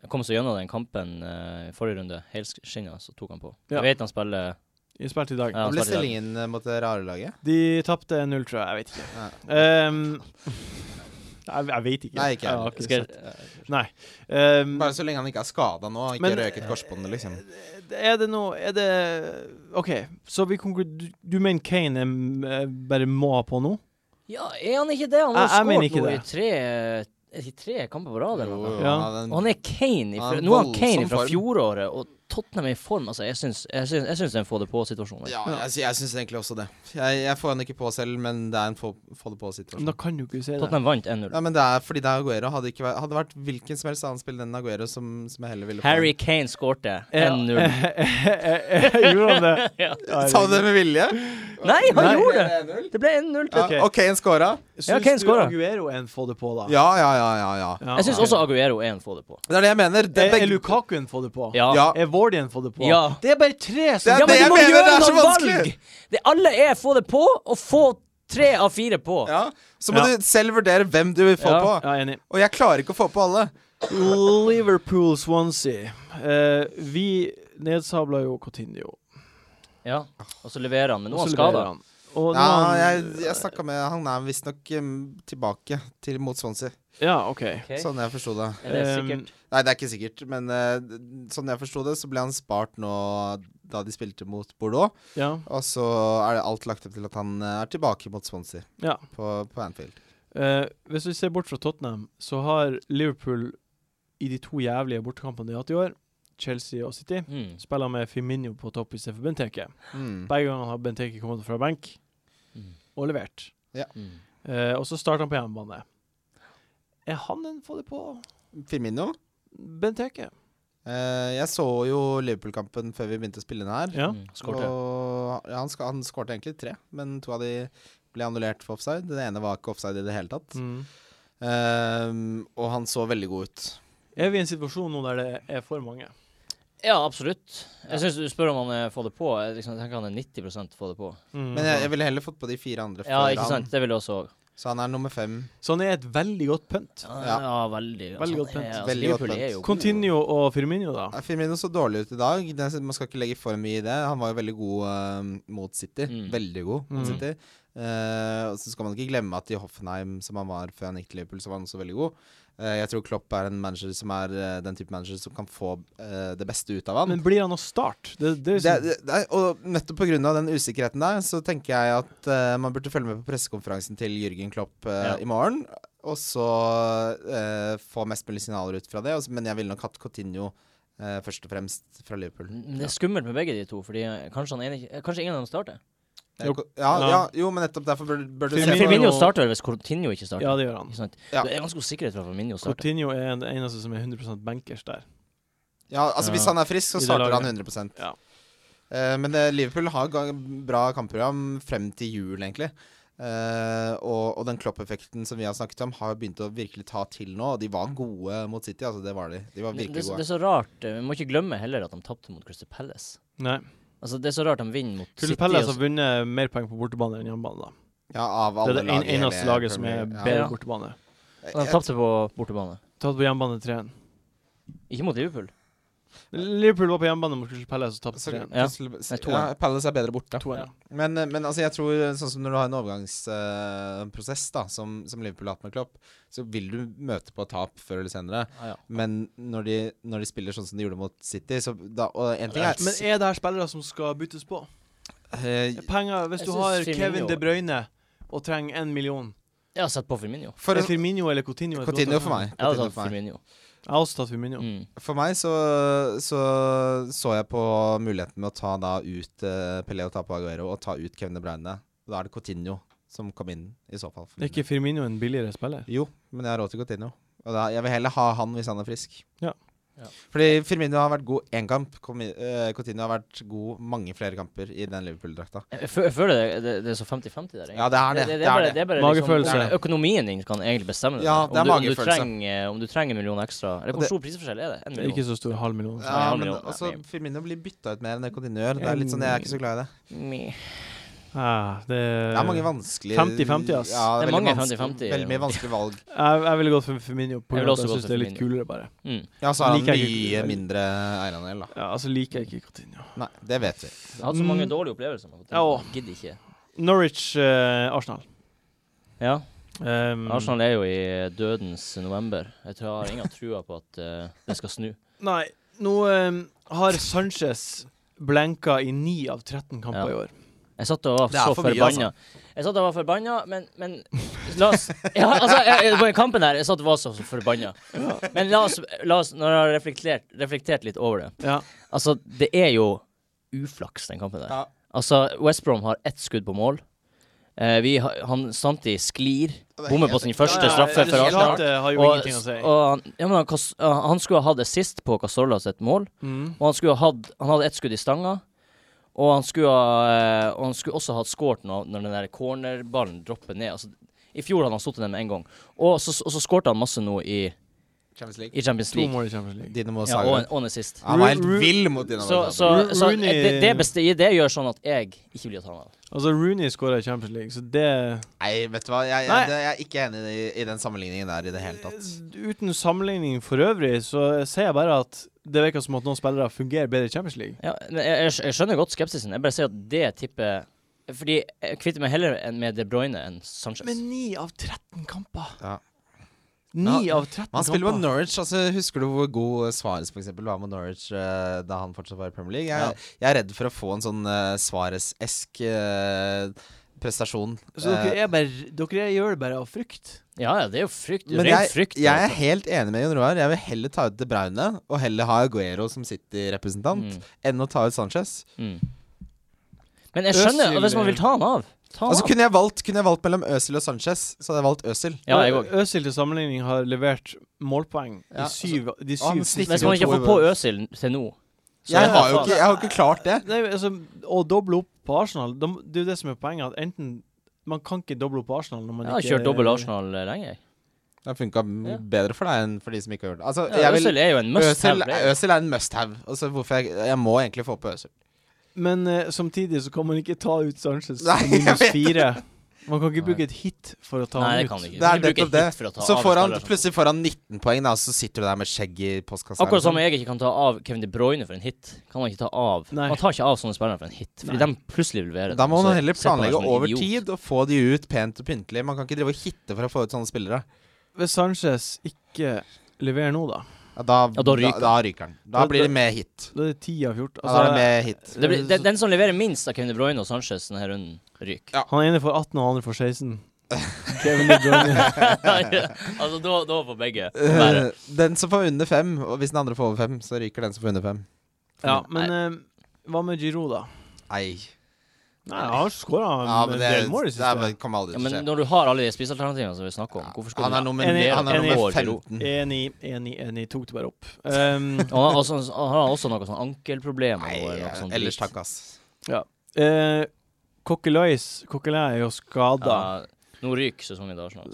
Speaker 2: jeg kom seg gjennom den kampen eh, i forrige runde, helskinna, så tok han på.
Speaker 1: Ja.
Speaker 2: Jeg vet han spiller
Speaker 1: I spilt i dag.
Speaker 2: Ja,
Speaker 3: Hva ble
Speaker 2: svarte jeg.
Speaker 3: stillingen eh, mot det rare laget?
Speaker 1: De tapte 0, tror jeg. Jeg vet ikke.
Speaker 3: Nei.
Speaker 1: Ehm, jeg, jeg vet ikke.
Speaker 3: Nei, ikke jeg
Speaker 1: jeg. har
Speaker 3: heller.
Speaker 1: ikke
Speaker 2: Skal
Speaker 1: sett.
Speaker 2: jeg,
Speaker 1: Nei. Ehm,
Speaker 3: Bare så lenge han ikke er skada nå, og ikke
Speaker 1: Men-
Speaker 3: røket korsbåndet, liksom.
Speaker 1: er det noe Er det OK, så vi konklu- du, du mener Kane er, m- eh, bare må ha på nå?
Speaker 2: Ja, er han ikke det? Han
Speaker 1: eh, Jeg- jeg
Speaker 2: har jo
Speaker 1: mener
Speaker 2: skåret
Speaker 1: ikke
Speaker 2: noe i
Speaker 1: det.
Speaker 2: tre, i tre kamper på rad. eller
Speaker 3: Jo,
Speaker 2: noe.
Speaker 3: jo,
Speaker 1: Ja.
Speaker 3: han hadde en-
Speaker 2: Og han er Kane ifra,
Speaker 3: Han er
Speaker 2: Nå er han
Speaker 3: voldsom
Speaker 2: Kane fra
Speaker 3: form.
Speaker 2: fjoråret, og Tottenham er i form. Altså, jeg syns, jeg syns, jeg syns det er en få det altså. på-situasjon.
Speaker 3: ja, jeg, sy- jeg syns egentlig også det. Jeg, jeg får han ikke på selv, men det er en få, få
Speaker 1: Men
Speaker 3: det
Speaker 1: da
Speaker 3: på-situasjon.
Speaker 1: kan du ikke si det.
Speaker 2: Tottenham vant 1-0.
Speaker 3: Ja, men det er fordi det er Aguero. Hadde, ikke vært, hadde vært hvilken som helst annen spiller enn Aguero som, som jeg heller ville få.
Speaker 2: Harry Kane skårte
Speaker 1: Ja.
Speaker 2: 1-0.
Speaker 1: Gjorde han det?
Speaker 2: Ja.
Speaker 3: Sa du det med vilje?
Speaker 2: Nei, han
Speaker 1: Nei.
Speaker 2: gjorde det!
Speaker 3: 1-0?
Speaker 2: Det ble 1-0 til
Speaker 3: Ja,
Speaker 1: Ok.
Speaker 3: og Kane scora.
Speaker 2: Ja, Kane
Speaker 1: Syns du
Speaker 2: scorer.
Speaker 1: Aguero er en få det på, da?
Speaker 3: Ja, ja, ja, ja, ja.
Speaker 1: Ja,
Speaker 2: Jeg syns
Speaker 1: ok.
Speaker 2: også Aguero er en få det på.
Speaker 3: Det er det jeg mener. Det
Speaker 1: Er,
Speaker 3: er
Speaker 1: er
Speaker 3: begge
Speaker 1: Lukaku en få det på?
Speaker 2: Ja.
Speaker 3: Ja.
Speaker 1: Er Vardy en få det på?
Speaker 2: Ja.
Speaker 1: Det er bare tre som
Speaker 3: Det er det jeg mener, det er så
Speaker 2: noen
Speaker 3: vanskelig.
Speaker 2: Det alle er få det på, og få tre av fire på.
Speaker 3: ja. Så må
Speaker 1: Ja.
Speaker 3: du selv vurdere hvem du vil få
Speaker 2: Ja.
Speaker 3: på.
Speaker 1: Ja, enig.
Speaker 3: Og jeg klarer ikke å få på alle.
Speaker 1: Liverpool Swansea. Eh, vi nedsabla jo Cotinio.
Speaker 2: Ja. Og så leverer han, men nå er han skada.
Speaker 1: Og nå
Speaker 3: Ja,
Speaker 1: er
Speaker 3: jeg,
Speaker 1: han-
Speaker 3: jeg snakka med Han er visstnok um, tilbake til mot Swansea,
Speaker 1: Ja, OK.
Speaker 2: Okay.
Speaker 3: sånn jeg forsto det.
Speaker 2: Er det
Speaker 1: Ehm,
Speaker 2: sikkert?
Speaker 3: Nei, det er ikke sikkert, men eh, sånn jeg forsto det, så ble han spart nå da de spilte mot Bordeaux.
Speaker 1: Ja.
Speaker 3: Og så er det alt lagt opp til at han eh, er tilbake mot Swansea
Speaker 1: ja.
Speaker 3: på, på Anfield.
Speaker 1: Eh, hvis vi ser bort fra Tottenham, så har Liverpool i de to jævlige bortekampene de har hatt i år, Chelsea og City,
Speaker 2: Mm.
Speaker 1: spiller med Firmino på topp istedenfor Benteke.
Speaker 3: Mm.
Speaker 1: Begge ganger har Benteke kommet fra benk
Speaker 2: Mm.
Speaker 1: og levert.
Speaker 2: Mm.
Speaker 1: Eh, og så starter han på hjemmebane. Er han en få det på?
Speaker 3: Firmino.
Speaker 1: Benteke?
Speaker 3: Eh, jeg så jo Liverpool-kampen før vi begynte å spille den her.
Speaker 1: Ja.
Speaker 2: Mm. Skårte.
Speaker 3: Og ja, han, ska, han skårte egentlig tre, men to av de ble annullert for offside. Den ene var ikke offside i det hele tatt.
Speaker 1: Mm.
Speaker 3: Ehm, og han så veldig god ut.
Speaker 1: Er vi i en situasjon nå der det er for mange?
Speaker 2: Ja, absolutt. Jeg syns du spør om han er få det på. Jeg, liksom, jeg tenker han er 90 få det på.
Speaker 1: Mhm.
Speaker 3: Men jeg, jeg ville heller fått på de fire andre
Speaker 2: Ja,
Speaker 3: før
Speaker 2: ikke
Speaker 3: han.
Speaker 2: sant? Det vil jeg også.
Speaker 3: Så han er nummer fem.
Speaker 1: Så han er et veldig godt pynt.
Speaker 2: Ja,
Speaker 3: Ja.
Speaker 2: ja veldig.
Speaker 1: Veldig godt
Speaker 2: han er-
Speaker 1: pent.
Speaker 2: altså,
Speaker 3: Veldig godt
Speaker 2: Liverpool
Speaker 3: pent.
Speaker 2: er jo god.
Speaker 1: Continuo og Firmino, da.
Speaker 3: Ja, Firmino så dårlig ut i dag. Det, man skal ikke legge for mye i det. Han var jo veldig god ehm, mot City.
Speaker 2: Mm.
Speaker 3: Veldig god mot
Speaker 1: Mm.
Speaker 3: City. Eh, og så skal man ikke glemme at i Hoffenheim, som han var før han gikk til Liverpool, så var han også veldig god. Eh, jeg tror Klopp er en manager som er eh, den type manager som kan få eh, det beste ut av han.
Speaker 1: Men blir han å starte? Det, det er
Speaker 3: det,
Speaker 1: liksom,
Speaker 3: det, det, er- og nettopp pga. den usikkerheten der, så tenker jeg at eh, man burde følge med på pressekonferansen til Jørgen Klopp eh,
Speaker 2: Ja.
Speaker 3: i morgen. Og så eh, få mest mulig signaler ut fra det. Og så- men jeg ville nok hatt Cotinho først og fremst fra Liverpool.
Speaker 2: Det er skummelt med begge de to, fordi eh, kanskje, han ene, eh, kanskje ingen av dem starter.
Speaker 3: Det er
Speaker 1: Jo.
Speaker 3: ko- Ja,
Speaker 1: Ja.
Speaker 3: ja, jo, men nettopp derfor bør, bør du
Speaker 1: Firmino- Firmino-
Speaker 3: se på
Speaker 2: Firmino starter vel hvis Coutinho ikke starter.
Speaker 1: ja, det gjør han.
Speaker 2: Ikke sant?
Speaker 3: Ja.
Speaker 2: Det er ganske god sikkerhet for at Firmino starter.
Speaker 1: Coutinho er den eneste som er 100 bankers der.
Speaker 3: ja, altså, Hvis
Speaker 2: Ja.
Speaker 3: han er frisk, så
Speaker 1: I det
Speaker 3: starter
Speaker 1: laget.
Speaker 3: han 100
Speaker 1: Ja.
Speaker 3: Eh, men eh, Liverpool har ga- bra kampprogram frem til jul, egentlig. Eh, og, og den Klopp-effekten som vi har snakket om, har begynt å virkelig ta til nå. Og de var gode mot City, altså. Det var de. De var
Speaker 2: Det, det,
Speaker 3: virkelig
Speaker 2: det
Speaker 3: gode.
Speaker 2: er så rart. eh, Vi må ikke glemme heller at de tapte mot Crystal Palace.
Speaker 1: Nei.
Speaker 2: Altså, det er så rart de vinner mot
Speaker 1: Crystal
Speaker 2: City. altså.
Speaker 1: Palace har
Speaker 2: og-
Speaker 1: altså vunnet mer poeng på bortebane enn hjemmebane. da.
Speaker 3: Ja, av
Speaker 1: Det
Speaker 3: alle
Speaker 1: er det en,
Speaker 3: i hele
Speaker 1: eneste laget som er
Speaker 3: Premier League.
Speaker 1: bedre
Speaker 2: Ja.
Speaker 1: bortebane.
Speaker 2: og de tapte på bortebane.
Speaker 1: Tatt på hjemmebane 3-1.
Speaker 2: Ikke mot Liverpool.
Speaker 1: Liverpool var på hjemmebane mot Crystal Palace og tapte
Speaker 3: Så,
Speaker 1: 3-1.
Speaker 2: Ja.
Speaker 3: Crystal-
Speaker 2: Nei, to
Speaker 3: ja,
Speaker 2: er.
Speaker 3: Palace er bedre borte.
Speaker 1: 2-1.
Speaker 3: Men, men altså, jeg tror sånn som når du har en overgangsprosess, eh, da, som, som Liverpool har hatt med Klopp, så vil du møte på tap før eller senere.
Speaker 2: Ah, ja.
Speaker 3: Men når de, når de spiller sånn som de gjorde mot City, så da, Og en ting er
Speaker 1: Men er det her spillere som skal byttes på?
Speaker 3: Eh,
Speaker 1: Penger, Hvis
Speaker 2: Jeg
Speaker 1: du
Speaker 2: synes
Speaker 1: har
Speaker 2: Firmino-
Speaker 1: Kevin De Bruyne og trenger én million,
Speaker 2: Jeg har sett på Firmino.
Speaker 3: For
Speaker 1: er Firmino eller Coutinho? et godt
Speaker 3: Continuo for
Speaker 1: alternativ?
Speaker 3: meg.
Speaker 2: Jeg hadde
Speaker 3: Coutinho
Speaker 2: tatt Firmino.
Speaker 1: Jeg har også tatt Firmino.
Speaker 2: Mm.
Speaker 3: For meg så, så så jeg på muligheten med å ta da ut uh, Pelé og ta på Aguero, og ta ut Kevin De Bruyne. Og da er det Coutinho som kom inn, i så fall. for
Speaker 1: Er
Speaker 3: min
Speaker 1: ikke Firmino en billigere spiller?
Speaker 3: del. Jo, men jeg har råd til Coutinho. Og da, jeg vil heller ha han hvis han er frisk.
Speaker 1: Ja.
Speaker 2: Ja.
Speaker 3: Fordi Firmino har vært god én kamp. Comi- eh, Coutinho har vært god mange flere kamper i den Liverpool-drakta.
Speaker 2: Jeg, jeg fø- jeg føler det, det, det er så 50-50 der. egentlig.
Speaker 3: Ja, det er det.
Speaker 2: Det,
Speaker 3: Det er
Speaker 2: bare,
Speaker 3: det.
Speaker 2: det er bare
Speaker 1: Magefølelse.
Speaker 2: Liksom, økonomien din kan egentlig bestemme det.
Speaker 3: Ja, det er
Speaker 2: om, du, om, du
Speaker 3: magefølelse.
Speaker 2: trenger, eh, om du trenger en million ekstra Eller
Speaker 3: Og
Speaker 2: hvor
Speaker 3: det-
Speaker 2: stor prisforskjell er det? En million?
Speaker 1: Ikke så stor, halv million.
Speaker 3: Ja,
Speaker 2: han
Speaker 3: men
Speaker 2: gjør det.
Speaker 3: også
Speaker 2: Nei.
Speaker 3: Firmino blir bytta ut mer enn det Coutinho gjør. Det er litt sånn, Jeg er ikke så glad i det.
Speaker 2: Meh.
Speaker 1: Ah, det,
Speaker 3: Det er mange vanskelige
Speaker 1: 50-50, ass.
Speaker 3: Ja,
Speaker 2: Det er
Speaker 3: veldig
Speaker 2: mange
Speaker 3: vanskelig-
Speaker 2: 50-50,
Speaker 3: Veldig mye
Speaker 2: ja.
Speaker 3: vanskelige valg.
Speaker 1: jeg, jeg ville gått for Firmino på
Speaker 2: Jeg
Speaker 1: grunn av at
Speaker 2: ville også
Speaker 1: jeg
Speaker 2: gått
Speaker 1: syns
Speaker 2: for
Speaker 1: det er litt kulere, bare.
Speaker 2: Mm.
Speaker 3: Ja, så har han
Speaker 1: Liker jeg
Speaker 3: mye
Speaker 1: ikke-
Speaker 3: mindre eierandel, da.
Speaker 1: Ja, altså liker jeg ikke Coutinho.
Speaker 3: Nei, det vet vi.
Speaker 2: Jeg har hatt så mange dårlige opplevelser. med
Speaker 1: Mm. Ja, og-
Speaker 2: Coutinho. Jeg Gidder ikke.
Speaker 1: Norwich, eh, Arsenal.
Speaker 2: Ja,
Speaker 1: Um,
Speaker 2: Arsenal er jo i dødens november. Jeg tror jeg har ingen trua på at eh, det skal snu.
Speaker 1: Nei, nå em, har Sanchez blenka i 9 av 13 kamper
Speaker 2: Ja.
Speaker 1: i år.
Speaker 2: Jeg satt og var
Speaker 3: Det er
Speaker 2: så
Speaker 3: for mye, altså.
Speaker 2: forbanna. Jeg satt og var forbanna, men, men la oss ja, altså, jeg, jeg, På den kampen her, jeg satt og var så forbanna. Men la oss, la oss når jeg har reflektert, reflektert litt over det
Speaker 1: Ja.
Speaker 2: Altså, det er jo uflaks, den kampen der.
Speaker 3: Ja.
Speaker 2: Altså, West Brom har ett skudd på mål. Eh, vi har, han Santi sklir,
Speaker 3: er
Speaker 2: bommer på
Speaker 3: helt-
Speaker 2: sin første
Speaker 3: Ja, ja,
Speaker 2: straffe for Arsenal.
Speaker 1: Resultatet har jo
Speaker 2: Og,
Speaker 1: ingenting å si.
Speaker 2: og han, ja, men han, Cas- han skulle ha hatt assist på Casolla sitt mål,
Speaker 1: Mm.
Speaker 2: og han skulle ha hatt Han hadde ett skudd i stanga. Og han skulle, ha, eh, og han skulle også ha skåret når, når den der cornerballen dropper ned. Altså, I fjor hadde han sittet den med en gang. Og så, og så skårte han masse nå i,
Speaker 3: Champions League.
Speaker 2: i Champions
Speaker 1: To
Speaker 2: League.
Speaker 1: mål i Champions League.
Speaker 3: Dinamo
Speaker 2: Ja, og,
Speaker 3: Zagreb.
Speaker 2: en, og en assist.
Speaker 3: han var helt
Speaker 1: Ru- Ru-
Speaker 3: vill mot Dinamo
Speaker 2: Så,
Speaker 3: Zagreb.
Speaker 2: så,
Speaker 1: Ru-
Speaker 2: så
Speaker 1: Rooney-
Speaker 2: det, det, besti- det gjør sånn at jeg ikke blir tatt av.
Speaker 1: Altså, Rooney skåra i Champions League, så det
Speaker 3: Nei, vet du hva. Jeg,
Speaker 1: Nei.
Speaker 3: jeg, det- jeg er ikke enig i, i den sammenligningen der i det hele tatt.
Speaker 1: Eh, Uten sammenligning for øvrig, så sier jeg bare at det virker som at noen spillere fungerer bedre i Champions League.
Speaker 2: Ja, men jeg, jeg, skj- jeg skjønner godt skepsisen. Jeg bare sier at det tippet Fordi jeg kvitter meg heller enn med De Bruyne enn Sanchez.
Speaker 1: Men 9 av 13 kamper!
Speaker 3: Ja.
Speaker 1: 9
Speaker 3: Ja,
Speaker 1: av 13
Speaker 3: Men han spiller mot
Speaker 1: kamper.
Speaker 3: Norwich. altså Husker du hvor god Svares for eksempel, var mot Norwich eh, da han fortsatt var i Premier League? Jeg, jeg er redd for å få en sånn uh, Svares-esk eh, prestasjon. eh,
Speaker 1: Så dere, er bare, dere gjør det bare av frykt?
Speaker 2: Ja, ja, det er jo frykt.
Speaker 3: Men
Speaker 2: ren
Speaker 3: jeg,
Speaker 2: frykt. altså.
Speaker 3: jeg er helt enig med Jon Roar. Jeg vil heller ta ut De Bruyne og heller ha Aguero som City-representant
Speaker 2: Mm.
Speaker 3: enn å ta ut Sanchez.
Speaker 2: Mm. Men jeg skjønner
Speaker 3: eh,
Speaker 1: Øsil-
Speaker 2: og hvis man vil ta han av. Ta han
Speaker 3: Altså
Speaker 2: av.
Speaker 3: kunne jeg, valgt, kunne jeg valgt mellom Øsil og Sanchez, så hadde jeg valgt Øsil.
Speaker 2: Ja, jeg òg.
Speaker 1: eh, Øzil til sammenligning har levert målpoeng
Speaker 3: Ja,
Speaker 1: i syv, de
Speaker 3: og han
Speaker 1: syv siste
Speaker 2: Hvis man ikke
Speaker 3: to
Speaker 2: får
Speaker 3: i
Speaker 2: på
Speaker 3: verden.
Speaker 2: Øsil til nå så er
Speaker 3: Jeg
Speaker 2: det
Speaker 3: har jo
Speaker 2: faen.
Speaker 3: ikke, jeg har jo ikke klart det.
Speaker 1: Nei, altså, Å doble opp på Arsenal, da må- det er jo det som er poenget. At enten Man kan ikke doble opp på Arsenal når man
Speaker 2: Jeg har
Speaker 1: ikke
Speaker 2: kjørt dobbel Arsenal eh, lenge. jeg.
Speaker 3: Det har funka
Speaker 2: Ja.
Speaker 3: bedre for deg enn for de som ikke har gjort det. Altså,
Speaker 2: Ja,
Speaker 3: jeg vil,
Speaker 2: Øsil er jo en must
Speaker 3: Øsil,
Speaker 2: have. player.
Speaker 3: Øsil er en must-have. Altså, hvorfor jeg, jeg må egentlig få på Øsil.
Speaker 1: Men eh, samtidig så kan man ikke ta ut Sanchez
Speaker 3: Nei,
Speaker 1: på
Speaker 3: jeg
Speaker 1: minus
Speaker 3: vet det.
Speaker 1: fire. Man kan ikke
Speaker 2: Nei.
Speaker 1: bruke et hit for å ta
Speaker 2: Nei,
Speaker 1: han
Speaker 2: det
Speaker 1: ut.
Speaker 2: kan du ikke.
Speaker 3: Det er
Speaker 2: Du bruker
Speaker 3: nettopp det.
Speaker 2: hit for å ta
Speaker 3: Så
Speaker 2: av
Speaker 3: får
Speaker 2: en
Speaker 3: han,
Speaker 2: spiller som-
Speaker 3: plutselig får han 19 poeng, da, og så sitter du der med skjegg i postkassa. liksom.
Speaker 2: Akkurat som jeg ikke kan ta av Kevin De Bruyne for en hit. Kan man ikke ta av.
Speaker 1: Nei.
Speaker 2: Man tar ikke av sånne spillere for en hit, fordi
Speaker 1: Nei.
Speaker 2: de plutselig vil levere.
Speaker 3: Da må
Speaker 2: Så
Speaker 3: man heller
Speaker 2: setter man dem
Speaker 3: planlegge
Speaker 2: som en
Speaker 3: over
Speaker 2: idiot.
Speaker 3: tid og få de ut pent og pyntelig. Man kan ikke drive og hitte for å få ut sånne spillere.
Speaker 1: Hvis Sanchez ikke leverer nå, da
Speaker 3: Ja, da,
Speaker 2: Ja, da
Speaker 3: da,
Speaker 2: ryker
Speaker 3: da ryker den. Da
Speaker 1: Da-
Speaker 3: blir
Speaker 1: da-
Speaker 3: det med hit.
Speaker 1: Da er det 10 av 14.
Speaker 3: Da er det
Speaker 1: Altså,
Speaker 3: med hit.
Speaker 2: Det blir, den, den som leverer minst av Kevin De Bruyne og Sanchez denne runden, ryker.
Speaker 1: han ene får 18, og han andre får 16. Kevin De Bruyne.
Speaker 2: altså, da, da får begge være.
Speaker 3: Eh, den som får under fem, og hvis den andre får over fem, så ryker den som får under fem.
Speaker 1: Ja, men eh, hva med Giroud da?
Speaker 3: Nei.
Speaker 1: Nei, han skåra
Speaker 3: Ja,
Speaker 1: en
Speaker 3: men det,
Speaker 1: del mål i
Speaker 3: det er,
Speaker 1: siste.
Speaker 3: kommer aldri til
Speaker 2: Ja,
Speaker 3: å
Speaker 2: men
Speaker 3: skje.
Speaker 2: når du har alle de spisealternativene som vi snakker om, hvorfor skal
Speaker 3: Han er
Speaker 2: du
Speaker 3: nummer,
Speaker 1: Enig,
Speaker 3: han er
Speaker 2: enig.
Speaker 3: nummer
Speaker 2: År til ro.
Speaker 3: 15.
Speaker 1: Enig, enig, enig. Tok det bare opp. Um,
Speaker 2: Og han har også, han har også noe sånn ankelproblemer.
Speaker 3: Nei,
Speaker 2: og sånn noe sånt
Speaker 3: ellers
Speaker 2: drit.
Speaker 3: takk, ass.
Speaker 1: eh, Coquelais Coquelin er jo skada.
Speaker 2: Ja, nå ryker sesongen til Arsenal.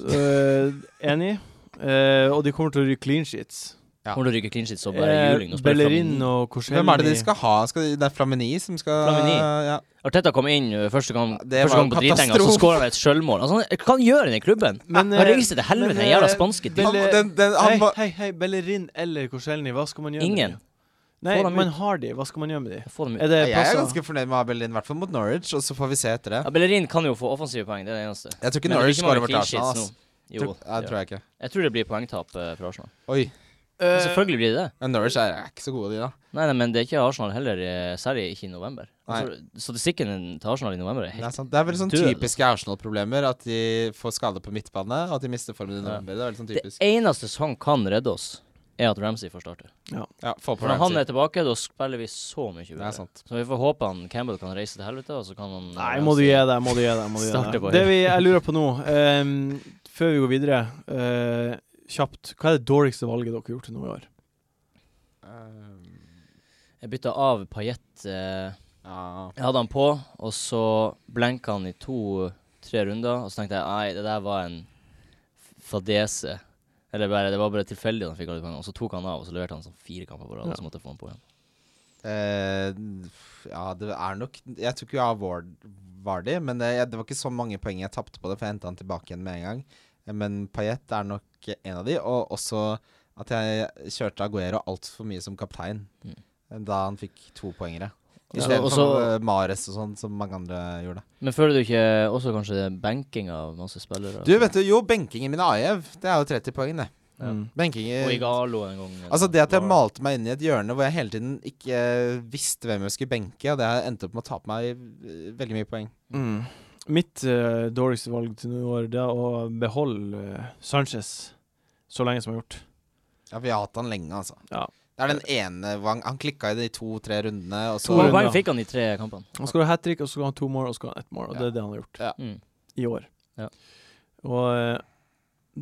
Speaker 1: enig. Eh, og de kommer til å ryke clean sheets.
Speaker 3: Ja. Eh,
Speaker 2: Kommer til å ryke clean shit, så bare juling.
Speaker 1: Uh,
Speaker 2: Nå spiller
Speaker 1: Bellerin
Speaker 2: Flamin-
Speaker 1: og Korselny
Speaker 3: Hvem er det de skal ha? Skal de, det er Flamini som skal
Speaker 2: Flamini?
Speaker 3: Ja.
Speaker 2: Arteta kom inn ø, første gang,
Speaker 3: Ja, det
Speaker 2: første
Speaker 3: var
Speaker 2: gang på dritenga, så
Speaker 3: katastrofe.
Speaker 2: skåra han et sjølmål. Altså, han- hva han gjør han i klubben?
Speaker 1: Men,
Speaker 2: Han
Speaker 1: eh,
Speaker 2: reiser til helvete,
Speaker 1: men,
Speaker 2: den jævla
Speaker 1: eh,
Speaker 2: spanske
Speaker 1: Belle-
Speaker 2: til.
Speaker 3: Han, den, den, han
Speaker 1: hei,
Speaker 3: var,
Speaker 1: hei, hei, Bellerin eller Korselny, hva skal man gjøre
Speaker 2: Ingen.
Speaker 1: med dem? Nei,
Speaker 2: Få dem
Speaker 1: man har de, hva skal man gjøre med de?
Speaker 2: Få dem ut.
Speaker 1: Er det
Speaker 3: jeg er
Speaker 1: plasser?
Speaker 3: ganske fornøyd med Abelin, i hvert fall mot Norwich, og så får vi se etter det.
Speaker 2: Ja, Bellerin kan jo få offensive poeng, det er det eneste.
Speaker 3: Jeg tror ikke
Speaker 2: Men det blir
Speaker 3: Norwich
Speaker 2: ikke mange
Speaker 3: skårer mot
Speaker 2: clean
Speaker 3: Arsenal.
Speaker 2: sheets
Speaker 3: Ass.
Speaker 2: nå. Jo,
Speaker 3: Tror- Nei, det tror jeg ikke.
Speaker 2: Jeg tror det blir poengtap eh, for Arsenal.
Speaker 3: Oi.
Speaker 1: Eh,
Speaker 2: Men selvfølgelig blir det det.
Speaker 3: Men Norwich er er ikke så gode, de, da.
Speaker 2: Nei, nei, men det er ikke Arsenal heller, eh, særlig ikke i november.
Speaker 3: Nei.
Speaker 2: Altså, statistikken til Arsenal i november er
Speaker 3: Det
Speaker 2: helt
Speaker 3: er, sant. Det er vel sånn
Speaker 2: Død.
Speaker 3: typiske Arsenal-problemer. At de får skade på midtbane, og at de mister formen i november. Det er veldig sånn
Speaker 2: Det
Speaker 3: typisk.
Speaker 2: eneste som kan redde oss, er at Ramsey får starte.
Speaker 3: Ja, få på
Speaker 2: For når han er
Speaker 3: Ramsey.
Speaker 2: tilbake, da spiller vi så mye
Speaker 3: Det
Speaker 2: bedre.
Speaker 3: er sant.
Speaker 2: Så vi får håpe han Campbell kan reise til helvete, og så kan han eh,
Speaker 1: Nei, må du gi deg, må du gi deg. Må du gi
Speaker 2: Starte
Speaker 1: deg.
Speaker 2: bare.
Speaker 1: Det vi, jeg lurer på nå, ehm, før vi går videre, eh, kjapt Hva er det dårligste valget dere har gjort til nå i år?
Speaker 2: Um, Jeg bytta av Pajett. Eh,
Speaker 3: Ja.
Speaker 2: jeg hadde han på, og så blenka han i to-tre runder. Og så tenkte jeg nei, det der var en fadese. Eller bare, det var bare tilfeldig at han fikk alle poengene. Og så tok han av, og så leverte han sånn fire kamper på rad.
Speaker 1: Ja.
Speaker 2: Og så måtte jeg få han på igjen.
Speaker 3: Eh, f- ja, det er nok Jeg tok jo av Ward Vardy, men det, jeg, det var ikke så mange poeng jeg tapte på det, for jeg henta han tilbake igjen med en gang. Eh, Men Payet er nok en av de, og også at jeg kjørte Aguero altfor mye som kaptein
Speaker 2: Mm.
Speaker 3: da han fikk to poengere. I
Speaker 2: Ja,
Speaker 3: stedet
Speaker 2: og
Speaker 3: for
Speaker 2: så-
Speaker 3: eh, Mares og sånn, som mange andre gjorde.
Speaker 2: Men føler du ikke også kanskje det er benking av masse spillere?
Speaker 3: Du, vet du, jo, benkingen min av Ajev, det er jo 30 poeng, det.
Speaker 2: Ja.
Speaker 1: Mm.
Speaker 3: Benking i
Speaker 2: Og Igalo en gang. eller
Speaker 3: Altså det at jeg
Speaker 2: var-
Speaker 3: malte meg inn i et hjørne hvor jeg hele tiden ikke eh, visste hvem jeg skulle benke, og det endte opp med å tape meg eh, veldig mye poeng.
Speaker 1: Mitt eh, dårligste valg til nå i år, det er å beholde eh, Sanchez så lenge som jeg har gjort.
Speaker 3: Ja, vi har hatt han lenge, altså.
Speaker 1: Ja.
Speaker 3: Det er den ene hvor han, han klikka i de to-tre rundene, og
Speaker 1: To
Speaker 3: så
Speaker 2: Hvor mange
Speaker 1: runder.
Speaker 2: poeng fikk han i tre kampene?
Speaker 1: Han skal ha hat trick, og så skal han ha to mål, og så skal han ha ett mål. Og
Speaker 3: Ja.
Speaker 1: det er det han har gjort
Speaker 2: Mm.
Speaker 1: i år.
Speaker 2: Ja.
Speaker 1: Og eh,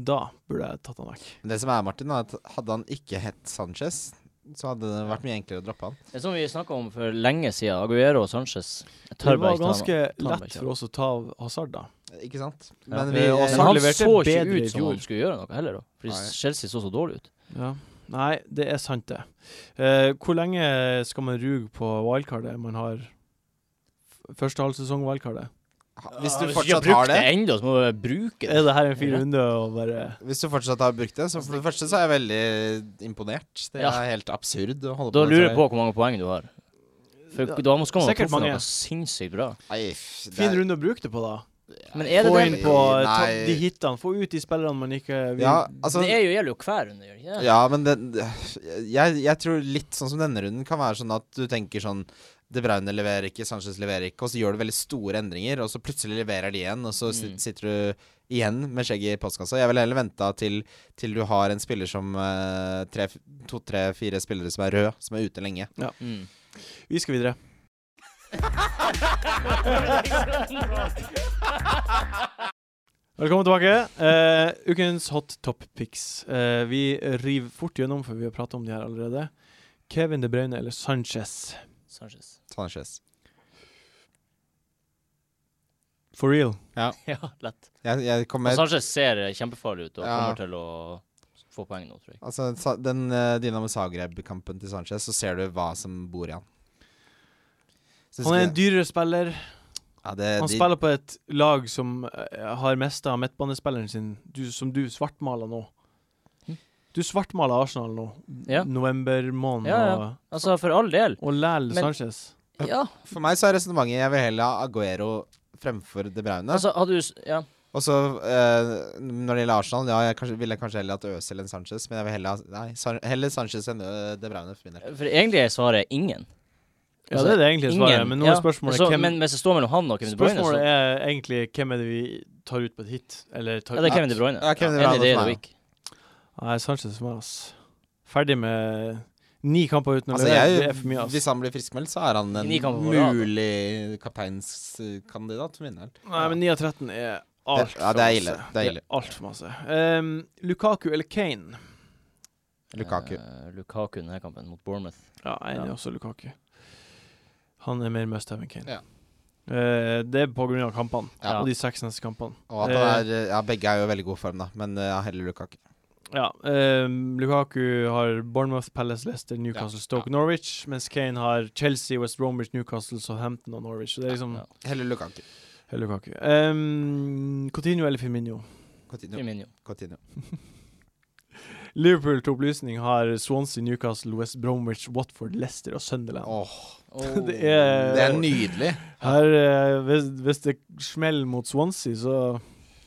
Speaker 1: da burde jeg tatt han vekk.
Speaker 3: Men Det som er, Martin, er at hadde han ikke hett Sanchez, så hadde det vært mye enklere å droppe han.
Speaker 2: Det er som vi snakka om for lenge siden, Aguero og Sanchez. Jeg
Speaker 1: Det
Speaker 2: tør bare
Speaker 1: var
Speaker 2: ikke ta han.
Speaker 1: ganske
Speaker 2: han bare
Speaker 1: lett
Speaker 2: ikke.
Speaker 1: for oss å ta av Hazard, da.
Speaker 3: Ikke sant?
Speaker 2: Ja.
Speaker 3: Men vi
Speaker 1: Eh, og
Speaker 3: eh,
Speaker 2: Men
Speaker 1: Hazard
Speaker 2: han
Speaker 1: leverte
Speaker 2: så ikke
Speaker 1: bedre i
Speaker 2: ut som
Speaker 1: fjor.
Speaker 2: han skulle gjøre noe heller, da. Fordi
Speaker 3: Nei.
Speaker 2: Chelsea så så dårlig ut.
Speaker 1: Ja. Nei, det er sant, det. Eh, hvor lenge skal man ruge på wildcardet man har f- første halv sesong wildcardet?
Speaker 3: eh, Hvis du
Speaker 2: Ja,
Speaker 3: fortsatt
Speaker 2: ikke
Speaker 3: har det
Speaker 2: ennå, så må du bruke
Speaker 1: Er
Speaker 2: det.
Speaker 1: det her en 400 og bare
Speaker 3: Hvis du fortsatt har brukt det, så for det første så er jeg veldig imponert. Det
Speaker 2: Ja.
Speaker 3: er helt absurd å holde
Speaker 2: Da
Speaker 3: på
Speaker 2: lurer
Speaker 3: med.
Speaker 2: jeg på hvor mange poeng du har. For
Speaker 1: Ja,
Speaker 2: da må skal man
Speaker 1: sikkert
Speaker 2: treffe
Speaker 1: mange.
Speaker 2: noe sinnssykt bra.
Speaker 3: Nei, f- det
Speaker 1: Fin
Speaker 3: er-
Speaker 1: runde å bruke det på, da.
Speaker 2: Men er det
Speaker 1: Få
Speaker 2: det?
Speaker 1: inn på eh, ta,
Speaker 3: Nei.
Speaker 1: de hitene. Få ut de spillerne man ikke vil
Speaker 3: Ja, altså
Speaker 2: Det er jo, gjelder jo hver runde, gjør det ikke det?
Speaker 3: Ja, men det, jeg, jeg tror litt sånn som denne runden kan være sånn at du tenker sånn De Bruyne leverer ikke, Sanchez leverer ikke, og så gjør du veldig store endringer, og så plutselig leverer de igjen, og så sit-
Speaker 2: Mm.
Speaker 3: sitter du igjen med skjegget i postkassa. Jeg vil heller vente til, til du har en spiller som eh, tre- To, tre, fire spillere som er rød, som er ute lenge.
Speaker 2: Mm.
Speaker 1: Vi skal videre. Velkommen tilbake. Eh, ukens hot top picks. Eh, vi river fort gjennom, for vi har prata om de her allerede. Kevin De Bruyne eller Sanchez?
Speaker 2: Sanchez.
Speaker 3: Sanchez.
Speaker 1: For real.
Speaker 2: Ja, lett.
Speaker 3: Jeg, jeg
Speaker 2: Men
Speaker 3: kommer
Speaker 2: Sanchez ser eh, kjempefarlig ut og
Speaker 3: Ja.
Speaker 2: kommer til å få poeng nå, tror jeg.
Speaker 3: Altså, sa- den eh, Dinamo Zagreb-kampen til Sanchez, så ser du hva som bor i han. Så
Speaker 1: Han er en
Speaker 3: husker jeg-
Speaker 1: dyrere spiller.
Speaker 3: ja, det,
Speaker 1: Han
Speaker 3: de-
Speaker 1: spiller på et lag som eh, har mista midtbanespilleren sin, du, som du svartmaler nå. Du svartmaler Arsenal nå.
Speaker 2: Hm? Ja.
Speaker 1: Novembermåned
Speaker 2: Ja, ja. Altså, for all del.
Speaker 1: og, og Læl
Speaker 2: Men-
Speaker 1: Sanchez.
Speaker 2: Ja.
Speaker 3: For meg så er resonnementet jeg vil heller ha Aguero fremfor De Braune.
Speaker 2: Altså, hadde du s- Ja.
Speaker 3: og så eh, når det gjelder Arsenal, ja, jeg kanskje, ville jeg kanskje heller hatt Øzil enn Sanchez, men jeg vil heller ha Nei, San heller Sanchez enn eh, De Braune for min del.
Speaker 2: For egentlig er svaret ingen.
Speaker 1: Ja,
Speaker 2: Altså,
Speaker 1: det er det egentlige svaret,
Speaker 2: Ingen.
Speaker 1: men nå er
Speaker 2: Ja.
Speaker 1: spørsmålet
Speaker 2: så,
Speaker 1: hvem
Speaker 2: Men hvis det står mellom han og Kevin De Bruyne, så
Speaker 1: Spørsmålet er egentlig hvem er det vi tar ut på et hit? Eller tar
Speaker 2: ja, det er
Speaker 1: ut
Speaker 2: Kevin De Bruyne.
Speaker 3: Ja, Kevin De
Speaker 2: Enig i
Speaker 3: Bruyne
Speaker 2: det
Speaker 3: for
Speaker 2: er du
Speaker 3: meg,
Speaker 2: ikke.
Speaker 1: Nei, Sanchez for meg, ass. Ferdig med Ni kamper uten å
Speaker 3: Altså,
Speaker 1: levere,
Speaker 3: jeg,
Speaker 1: det er for mye, ass.
Speaker 3: hvis han blir friskmeldt, så er han en
Speaker 2: Ni kamper på rad.
Speaker 3: mulig kapteinskandidat for min del.
Speaker 1: Nei, men 9 av 13 er
Speaker 3: Det-
Speaker 1: altfor
Speaker 3: ja, det er ille.
Speaker 1: altså.
Speaker 3: Det er ille.
Speaker 1: Altfor masse. Ehm, Lukaku eller Kane?
Speaker 3: Lukaku.
Speaker 2: Eh, Lukaku denne kampen mot Bournemouth.
Speaker 1: Ja, jeg er enig, også Lukaku. Han er mer must have enn Kane.
Speaker 3: Ja.
Speaker 1: Eh, det er på grunn av kampene,
Speaker 2: Ja.
Speaker 1: og de seks neste kampene.
Speaker 3: Og at han
Speaker 1: Eh.
Speaker 3: er, ja, begge er jo i veldig god form, da, men eh, ja, heller Lukaku.
Speaker 1: Ja, ehm, Lukaku har Bournemouth, Palace, Leicester, Newcastle,
Speaker 3: Ja,
Speaker 1: Stoke, Norwich. Mens Kane har Chelsea, West Bromwich, Newcastle, Southampton og Norwich. Så det er liksom
Speaker 2: Ja.
Speaker 3: Heller Lukaku.
Speaker 1: Hei, Lukaku. Ehm, Coutinho eller Firmino?
Speaker 3: Continue.
Speaker 2: Firmino.
Speaker 3: Continue.
Speaker 1: Liverpool til opplysning har Swansea, Newcastle, West Bromwich, Watford, Leicester og Sunderland.
Speaker 3: Åh,
Speaker 2: Oh.
Speaker 1: Det er-
Speaker 3: det er nydelig.
Speaker 1: Her, eh, hvis, hvis det smeller mot Swansea, så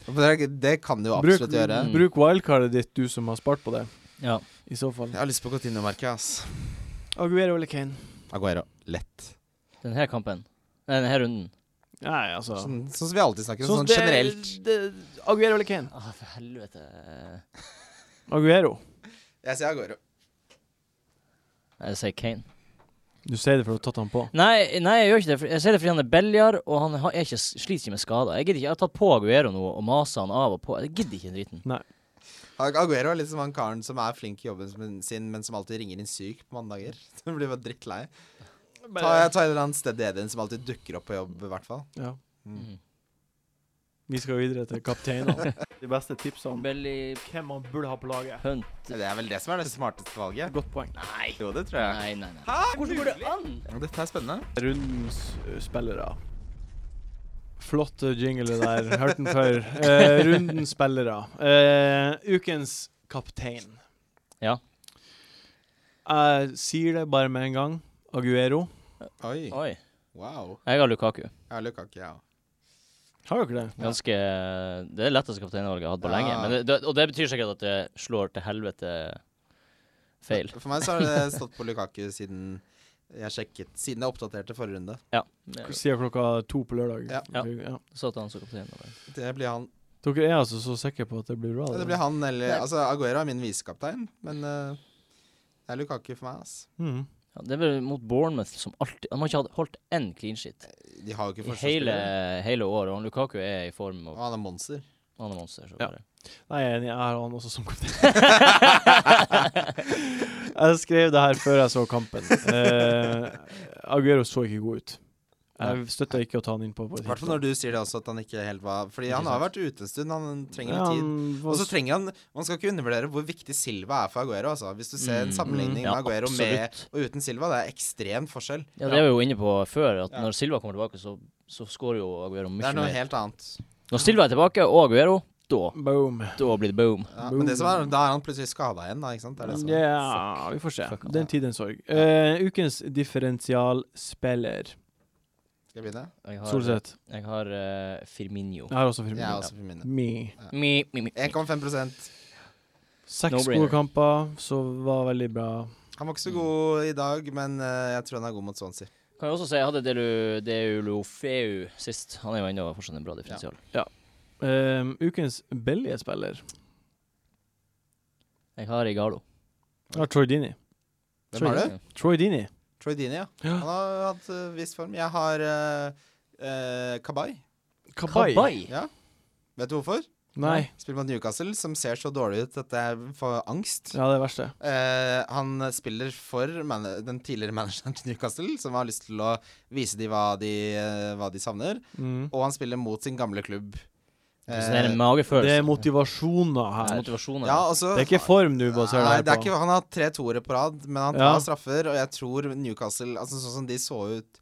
Speaker 3: Det, det kan det jo
Speaker 1: bruk,
Speaker 3: absolutt gjøre.
Speaker 2: Mm.
Speaker 1: bruk wildcardet ditt, du som har spart på det.
Speaker 2: Ja.
Speaker 1: I så fall.
Speaker 3: Jeg har lyst på Continue-merket, ass.
Speaker 1: Aguero eller Kane?
Speaker 3: Aguero. Lett.
Speaker 2: Denne kampen. Nei, denne runden.
Speaker 1: Nei, altså
Speaker 3: Sånn, sånn som vi alltid snakker om,
Speaker 1: Sånn
Speaker 3: sånn
Speaker 1: det-
Speaker 3: generelt.
Speaker 1: det- Aguero eller Kane?
Speaker 2: Ah, for helvete.
Speaker 1: Aguero.
Speaker 3: Jeg sier Aguero.
Speaker 2: Jeg sier Kane.
Speaker 1: Du sier det for å ha tatt han på.
Speaker 2: Nei, nei, jeg gjør ikke det. for- Jeg sier det fordi han er billigere, og han har, er ikke, sliter ikke med skader. Jeg gidder ikke, jeg har tatt på Aguero nå og masa han av og på. Jeg gidder ikke den driten.
Speaker 3: Ag- Aguero er litt som han karen som er flink i jobben som- sin, men som alltid ringer inn syk på mandager. Du blir bare drittlei. Ta, ta en eller annen stedig Edin som alltid dukker opp på jobb, i hvert fall.
Speaker 1: Ja.
Speaker 2: Mm.
Speaker 1: Vi skal videre til kapteinene. De beste tipsene om
Speaker 2: Belly
Speaker 1: hvem man burde ha på laget.
Speaker 2: Hunt.
Speaker 3: Det er vel det som er det smarteste valget.
Speaker 1: Godt poeng.
Speaker 2: Nei.
Speaker 3: Jo, det tror jeg.
Speaker 2: Nei, nei, nei. Hvordan går det an?
Speaker 3: Dette er spennende.
Speaker 1: Rundens uh, spillere. Flotte jingle der. Hørte den før. Eh, rundens spillere. Eh, ukens kaptein.
Speaker 2: Ja.
Speaker 1: Jeg sier det bare med en gang. Aguero.
Speaker 3: Oi.
Speaker 2: Oi.
Speaker 3: Wow.
Speaker 2: Jeg har Lukaku.
Speaker 3: Ja, Lukaku, ja.
Speaker 1: Har dere det?
Speaker 2: Ganske Det er det letteste kapteinvalget jeg har hatt på
Speaker 3: Ja.
Speaker 2: lenge. Men det, det, og det betyr sikkert at det slår til helvete feil.
Speaker 3: For meg så har det stått på Lukaku siden jeg sjekket Siden jeg oppdaterte forrige runde.
Speaker 2: Ja.
Speaker 1: Sier klokka to på lørdag.
Speaker 3: Ja.
Speaker 2: Ja.
Speaker 1: Ja.
Speaker 2: Satt han som kaptein. da.
Speaker 3: Det blir han.
Speaker 1: Dere er altså så sikre på at det blir bra?
Speaker 3: Ja,
Speaker 1: da?
Speaker 3: Det blir han eller
Speaker 2: Nei.
Speaker 3: Altså, Aguero er min visekaptein, men eh, det er Lukaku for meg, altså. ass.
Speaker 1: Mhm.
Speaker 2: Ja, det er vel mot Bournemouth som alltid De har ikke hatt- holdt én clean shit
Speaker 3: De har jo ikke
Speaker 2: i hele,
Speaker 3: forsvarsspillere.
Speaker 2: hele året. Og han Lukaku er i form
Speaker 3: Og
Speaker 2: av
Speaker 3: han er monster.
Speaker 2: han er monster. Så
Speaker 1: Ja.
Speaker 2: bare.
Speaker 1: Nei, jeg er enig. Jeg har han også som kaptein. jeg skrev det her før jeg så kampen. Eh, Aguero så ikke god ut. Jeg støtta ikke å ta han inn på
Speaker 3: I hvert fall når du sier det også, at han ikke helt var Fordi
Speaker 2: Ikke
Speaker 3: han har
Speaker 2: sant.
Speaker 3: vært ute en stund, han trenger litt tid. Og så trenger han Man skal ikke undervurdere hvor viktig Silva er for Aguero, altså. Hvis du ser en
Speaker 2: Mm.
Speaker 3: sammenligning
Speaker 2: Ja,
Speaker 3: med Aguero med
Speaker 2: absolutt.
Speaker 3: og uten Silva, det er ekstrem forskjell.
Speaker 2: Ja, det var vi jo inne på før, at
Speaker 3: Ja.
Speaker 2: når Silva kommer tilbake, så, så scorer jo Aguero
Speaker 3: Det
Speaker 2: mye
Speaker 3: er noe
Speaker 2: mer.
Speaker 3: helt annet.
Speaker 2: Når Silva er tilbake, og Aguero, da,
Speaker 1: Boom.
Speaker 2: da blir det boom.
Speaker 3: Ja, men det som er, da er han plutselig skada igjen, da, ikke sant? Det er det som
Speaker 1: Ja,
Speaker 3: er.
Speaker 1: vi får se.
Speaker 2: Fuck han.
Speaker 1: Den tid, den sorg. Eh, ukens differensialspiller.
Speaker 3: Skal jeg begynne?
Speaker 2: Jeg har,
Speaker 1: Solseth.
Speaker 2: jeg har eh, Firmino.
Speaker 1: Jeg har også
Speaker 3: Jeg er
Speaker 1: Firmino.
Speaker 3: også for mine.
Speaker 1: Me.
Speaker 2: Mi, mi, mi.
Speaker 3: 1,5
Speaker 1: Seks
Speaker 2: No-brainer.
Speaker 1: gode kamper, så var veldig bra.
Speaker 3: Han var
Speaker 2: Mm.
Speaker 3: ikke så god i dag, men eh, jeg tror han er god mot Swansea.
Speaker 2: Kan jeg også si jeg hadde Delu- Deulofeu sist. Han er jo ennå fortsatt en bra differensial.
Speaker 1: Eh, ukens billige spiller
Speaker 2: Jeg har Igalo.
Speaker 1: Ja, Ah, Troy Dini.
Speaker 3: Hvem har du?
Speaker 1: Troy Dini.
Speaker 3: Troy Dini, ja.
Speaker 1: Ja.
Speaker 3: Han har hatt uh, viss form. Jeg har eh, eh, Kabay.
Speaker 1: Kabay.
Speaker 2: Kabai.
Speaker 3: Ja. Vet du hvorfor?
Speaker 1: Nei.
Speaker 3: Spiller mot Newcastle, som ser så dårlig ut at jeg får angst.
Speaker 1: Ja, det er verste.
Speaker 3: Eh, han spiller for man den tidligere manageren til Newcastle, som har lyst til å vise dem hva, de, eh, hva de savner.
Speaker 1: Mm.
Speaker 3: Og han spiller mot sin gamle klubb.
Speaker 2: Så det er sånn en
Speaker 3: Eh,
Speaker 1: Det
Speaker 2: magefølelse.
Speaker 1: er motivasjoner
Speaker 2: sånn
Speaker 1: her.
Speaker 2: Motivasjonen.
Speaker 3: ja, og så
Speaker 1: Det er ikke form du baserer
Speaker 3: Nei,
Speaker 1: det
Speaker 3: det er
Speaker 1: her på.
Speaker 3: ikke, han har hatt tre toere på rad, men han tar
Speaker 1: Ja.
Speaker 3: straffer. Og jeg tror Newcastle Altså Sånn som de så ut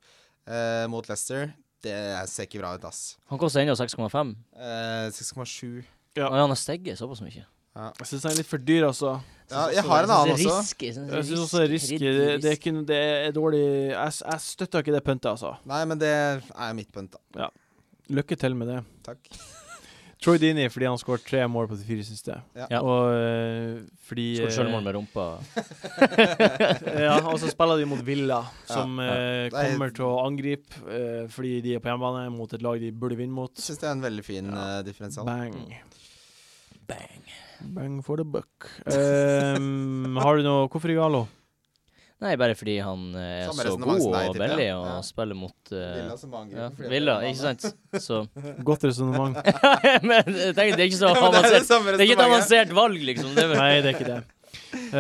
Speaker 3: eh, mot Leicester, det ser ikke bra ut, ass.
Speaker 2: Han koster ennå 6,5.
Speaker 3: Eh, 6,7.
Speaker 1: Ja.
Speaker 2: Og han har steget såpass mye.
Speaker 1: Jeg syns han er litt for dyr, altså.
Speaker 3: Ja, jeg har en annen også.
Speaker 2: Risky, jeg synes
Speaker 1: Jeg syns også det er risky. Det, det, er, ikke, noe- det er dårlig Jeg, s- jeg støtter ikke det pøntet, altså.
Speaker 3: Nei, men det er mitt punkt, da.
Speaker 1: Lykke til med det.
Speaker 3: Takk.
Speaker 1: Troy Dini fordi han skåret tre mål på de fire siste.
Speaker 3: Ja.
Speaker 2: Ja.
Speaker 1: Og øh, fordi
Speaker 2: Skåret selvmål
Speaker 1: øh,
Speaker 2: med rumpa.
Speaker 1: ja, Og så spiller de mot Villa, som
Speaker 2: Ja.
Speaker 1: øh,
Speaker 3: Nei.
Speaker 1: kommer til å angripe øh, fordi de er på hjemmebane mot et lag de burde vinne mot.
Speaker 3: Syns det er en veldig fin
Speaker 1: Ja.
Speaker 3: eh, differensial.
Speaker 1: Bang.
Speaker 2: Bang.
Speaker 1: Bang for the buck. Ehm, har du noe Hvorfor Igalo?
Speaker 2: Nei, bare fordi han eh, er
Speaker 3: Samme
Speaker 2: så
Speaker 3: resonnement
Speaker 2: god
Speaker 3: som deg,
Speaker 2: og
Speaker 3: tipper jeg.
Speaker 2: veldig og
Speaker 3: Ja.
Speaker 2: spiller mot eh,
Speaker 3: Villa som angriper
Speaker 2: ja,
Speaker 3: fordi at
Speaker 2: Villa,
Speaker 3: han-
Speaker 2: ikke sant? Så
Speaker 1: Godt resonnement.
Speaker 2: Men jeg tenker, det er ikke så
Speaker 3: Ja, men det er det
Speaker 2: avansert.
Speaker 3: samme
Speaker 2: Det er ikke et
Speaker 3: resonnementet.
Speaker 2: avansert valg, liksom. Det er, vel-
Speaker 1: Nei, det er ikke det.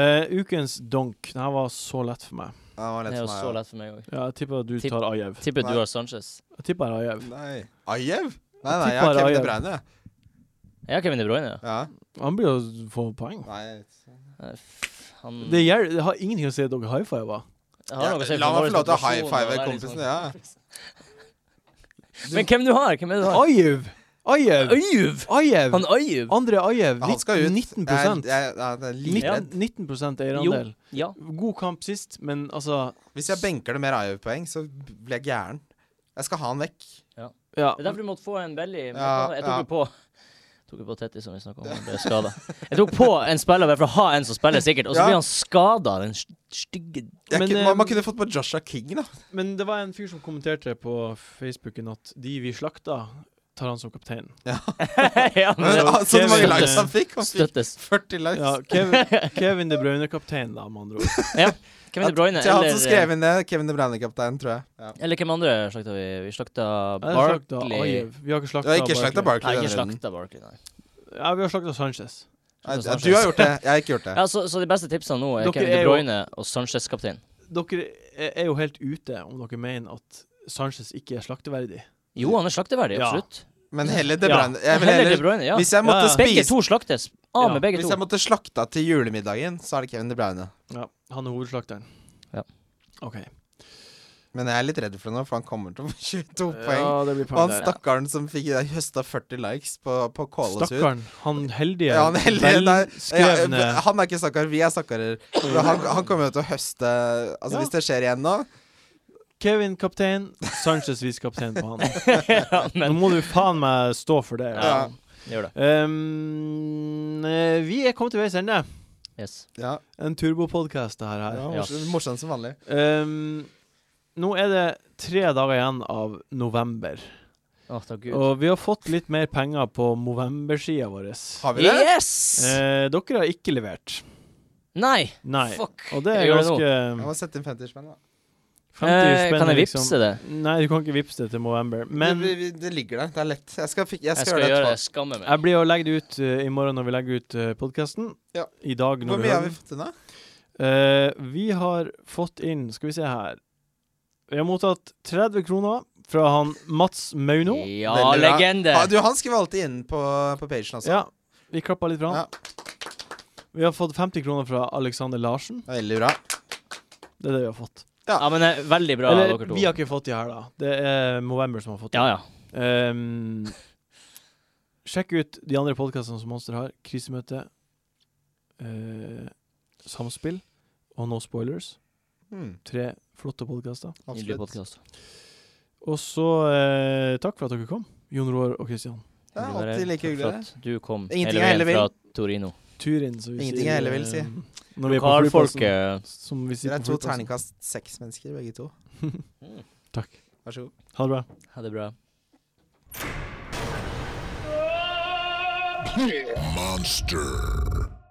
Speaker 1: Eh, ukens donk. Den her var så lett for meg.
Speaker 3: Ja, det var lett
Speaker 2: det er jo
Speaker 3: for meg,
Speaker 2: så
Speaker 3: ja.
Speaker 2: lett for meg òg.
Speaker 1: Ja, jeg tipper at du
Speaker 2: Tipp-
Speaker 1: tar E Ajev.
Speaker 2: Tipper
Speaker 3: Nei.
Speaker 2: du har Sanchez.
Speaker 1: Jeg tipper E Ajev.
Speaker 3: Nei. Ajev? Nei, nei,
Speaker 1: tipper
Speaker 3: jeg har Kevin
Speaker 1: Ajev.
Speaker 3: De Bruyne. jeg.
Speaker 2: Jeg har Kevin De Bruyne. ja.
Speaker 3: Ja.
Speaker 1: Han blir å få poeng.
Speaker 3: Nei.
Speaker 2: Eh, f- Han
Speaker 1: Det, gjør, det har ingenting å si at dere high fiva.
Speaker 2: jeg har noe å si for
Speaker 3: La meg
Speaker 2: vår
Speaker 3: få lov til å
Speaker 2: situasjon
Speaker 3: high five
Speaker 2: og være litt
Speaker 3: kompisen,
Speaker 2: sånn-
Speaker 3: ja.
Speaker 2: Men hvem du har? Hvem er det du har?
Speaker 1: Ajev! Ajev!
Speaker 3: E
Speaker 2: Øyv!
Speaker 1: Ajev!
Speaker 2: Han Øyv!
Speaker 1: E Andre E Ajev.
Speaker 3: Han skal ut.
Speaker 1: 19
Speaker 3: Jeg, jeg, jeg, jeg er livredd.
Speaker 1: 19, 19 eierandel.
Speaker 2: Ja.
Speaker 1: God kamp sist, men altså
Speaker 3: Hvis jeg benker det mer Ajev-poeng, så blir jeg gæren. Jeg skal ha han vekk.
Speaker 1: Ja.
Speaker 2: Det er derfor du måtte få en veldig
Speaker 3: Ja,
Speaker 2: Jeg tok
Speaker 3: ja.
Speaker 2: jo på Tok jo på Tetti, som vi snakka om, han ble skada. Jeg tok på en spiller bare for å ha en som spiller, sikkert, og så
Speaker 3: Ja.
Speaker 2: blir han skada, den st- stygge
Speaker 3: Jeg,
Speaker 1: Men,
Speaker 3: kunne-
Speaker 1: eh,
Speaker 3: man, man kunne fått på Joshua King, da.
Speaker 1: Men det var en fyr som kommenterte på Facebooken at de vi slakta, tar han som kaptein.
Speaker 2: Ja, men det
Speaker 3: ah, Så
Speaker 1: Kevin- eh,
Speaker 3: mange likes han fikk. Han fikk
Speaker 2: støttes.
Speaker 3: 40 likes.
Speaker 1: Ja, Kevin, Kevin De Bruyne-kaptein, da, med andre ord.
Speaker 2: Kevin De Bruyne
Speaker 3: Til han som skrev
Speaker 2: eller eh,
Speaker 3: inn det. Kevin De Bruyne-kapteinen, tror jeg. Ja.
Speaker 2: Eller hvem andre slakta vi? Vi slakta
Speaker 1: Ja, det er eh, slakta
Speaker 2: Barkley.
Speaker 1: Ajev. Vi har ikke
Speaker 3: Du
Speaker 1: slakta
Speaker 3: har ikke slakta
Speaker 1: Barkley.
Speaker 3: Barkley
Speaker 2: Nei, ikke
Speaker 3: denne runden.
Speaker 2: slakta Barkley, nei.
Speaker 1: Ja, vi har slakta Sanchez.
Speaker 3: Nei,
Speaker 2: Slakta
Speaker 3: Du har gjort det. Jeg har ikke gjort det.
Speaker 2: Ja, så, så de beste tipsene nå er
Speaker 1: Dere
Speaker 2: Kevin
Speaker 1: er
Speaker 2: De
Speaker 1: jo-
Speaker 2: Bruyne og Sanchez-kaptein.
Speaker 1: Dere er er jo helt ute om dere mener at Sanchez ikke er slakteverdig.
Speaker 2: Jo, han er slakteverdig,
Speaker 1: Ja.
Speaker 2: absolutt.
Speaker 3: Men heller De
Speaker 1: Ja.
Speaker 3: Bruyne. Jeg vil
Speaker 2: Heller De
Speaker 3: heller
Speaker 2: Bruyne, ja.
Speaker 3: Hvis jeg
Speaker 1: Ja,
Speaker 3: måtte
Speaker 1: ja.
Speaker 2: Begge
Speaker 3: spise
Speaker 2: to slaktes. Av
Speaker 1: Ja,
Speaker 2: med begge
Speaker 3: Hvis
Speaker 2: to.
Speaker 3: jeg måtte slakta til julemiddagen, så er det Kevin De Bruyne.
Speaker 1: Ja, han er hovedslakteren.
Speaker 2: Ja.
Speaker 1: OK.
Speaker 3: Men jeg er litt redd for det nå, for han kommer til å få 22 poeng.
Speaker 1: Ja, det blir
Speaker 3: Og han
Speaker 1: poeng der.
Speaker 3: stakkaren som fikk høsta 40 likes på, på Kåles ut.
Speaker 1: Stakkaren. Han heldige,
Speaker 3: Ja, han heldige, nei, Ja, eh,
Speaker 1: velskrevne
Speaker 3: han er ikke stakkar, vi er stakkarer. Men Han, han kommer jo til å høste Altså
Speaker 1: Ja.
Speaker 3: Hvis det skjer igjen nå
Speaker 1: Kevin kaptein, Sanchez visekaptein på han.
Speaker 2: ja,
Speaker 1: Nå
Speaker 2: men
Speaker 1: må du faen meg stå for det.
Speaker 2: ja.
Speaker 1: Ja.
Speaker 3: Ja.
Speaker 2: Gjør det.
Speaker 1: Ehm, eh, vi er kommet til veis ende.
Speaker 2: Yes.
Speaker 3: Ja,
Speaker 1: En turbopodkast, det her.
Speaker 3: ja,
Speaker 1: her.
Speaker 3: morsom, morsom som vanlig.
Speaker 1: Ehm, nå er det tre dager igjen av november.
Speaker 2: Å, takk Gud.
Speaker 1: Og vi har fått litt mer penger på Movember-sida vår.
Speaker 3: Har vi det?
Speaker 2: Yes!
Speaker 1: Eh, dere har ikke levert.
Speaker 2: Nei.
Speaker 1: Nei.
Speaker 2: Fuck.
Speaker 1: Og det er
Speaker 2: Jeg gjør
Speaker 1: ganske
Speaker 3: Jeg må sette inn 50 spenn, da.
Speaker 1: 50
Speaker 2: Eh,
Speaker 1: spenn
Speaker 2: kan jeg
Speaker 1: er
Speaker 2: vippse
Speaker 1: liksom-
Speaker 2: det?
Speaker 1: Nei, du kan ikke vippse det til Movember. Men
Speaker 3: det, vi- det ligger der. Det er lett. Jeg skal, fik- jeg
Speaker 2: Jeg
Speaker 3: skal,
Speaker 2: skal
Speaker 3: gjøre det.
Speaker 2: gjøre det.
Speaker 3: etterpå.
Speaker 2: Skammer meg.
Speaker 1: jeg blir å legge det ut eh, i morgen når vi legger ut uh, podkasten.
Speaker 3: Ja.
Speaker 1: I dag når
Speaker 3: Hvor
Speaker 1: vi
Speaker 3: mye har
Speaker 1: hører
Speaker 3: vi
Speaker 1: den.
Speaker 3: fått inn, da?
Speaker 1: Eh, vi har fått inn Skal vi se her. Vi har mottatt 30 kroner fra han Mats Mauno.
Speaker 2: Ja,
Speaker 3: Veldig bra.
Speaker 2: legende.
Speaker 3: Ah, du, han skriver alltid inn på, på pagen, altså.
Speaker 1: Ja, vi klappa litt fra han. Vi har fått 50 kroner fra Alexander Larsen.
Speaker 3: Det er Veldig bra.
Speaker 1: Det er det vi har fått.
Speaker 2: Ja, men eh, veldig bra,
Speaker 1: Eller,
Speaker 2: dere to.
Speaker 1: vi har ikke fått de her, da. Det er Movember som har fått de.
Speaker 2: Ja, ja.
Speaker 1: Ehm, sjekk ut de andre podkastene som Monster har. Krisemøte, eh, Samspill og No Spoilers.
Speaker 3: Hmm,
Speaker 1: Tre flotte podkaster.
Speaker 2: Nydelig
Speaker 3: absolutt.
Speaker 2: podcast.
Speaker 1: Og så eh, takk for at dere kom, Jon Roar og Kristian.
Speaker 3: Det er
Speaker 2: Vil du være-
Speaker 3: alltid like
Speaker 2: takk for
Speaker 3: hyggelig. det.
Speaker 2: at Du kom
Speaker 3: Ingenting
Speaker 2: hele
Speaker 3: jeg heller
Speaker 2: veien
Speaker 3: vil.
Speaker 2: fra Torino.
Speaker 1: Turin, som vi
Speaker 3: Ingenting
Speaker 1: sier.
Speaker 3: jeg heller vil si.
Speaker 1: eh, Når vi er på flyplassen.
Speaker 2: Lokalfolket
Speaker 1: Som vi sier
Speaker 3: Dere er
Speaker 1: på
Speaker 3: to
Speaker 1: flyplassen.
Speaker 3: terningkast seks mennesker, begge to.
Speaker 1: Takk.
Speaker 3: Vær så god.
Speaker 1: Ha det bra.
Speaker 2: Mm. Ha det bra.
Speaker 4: Monster.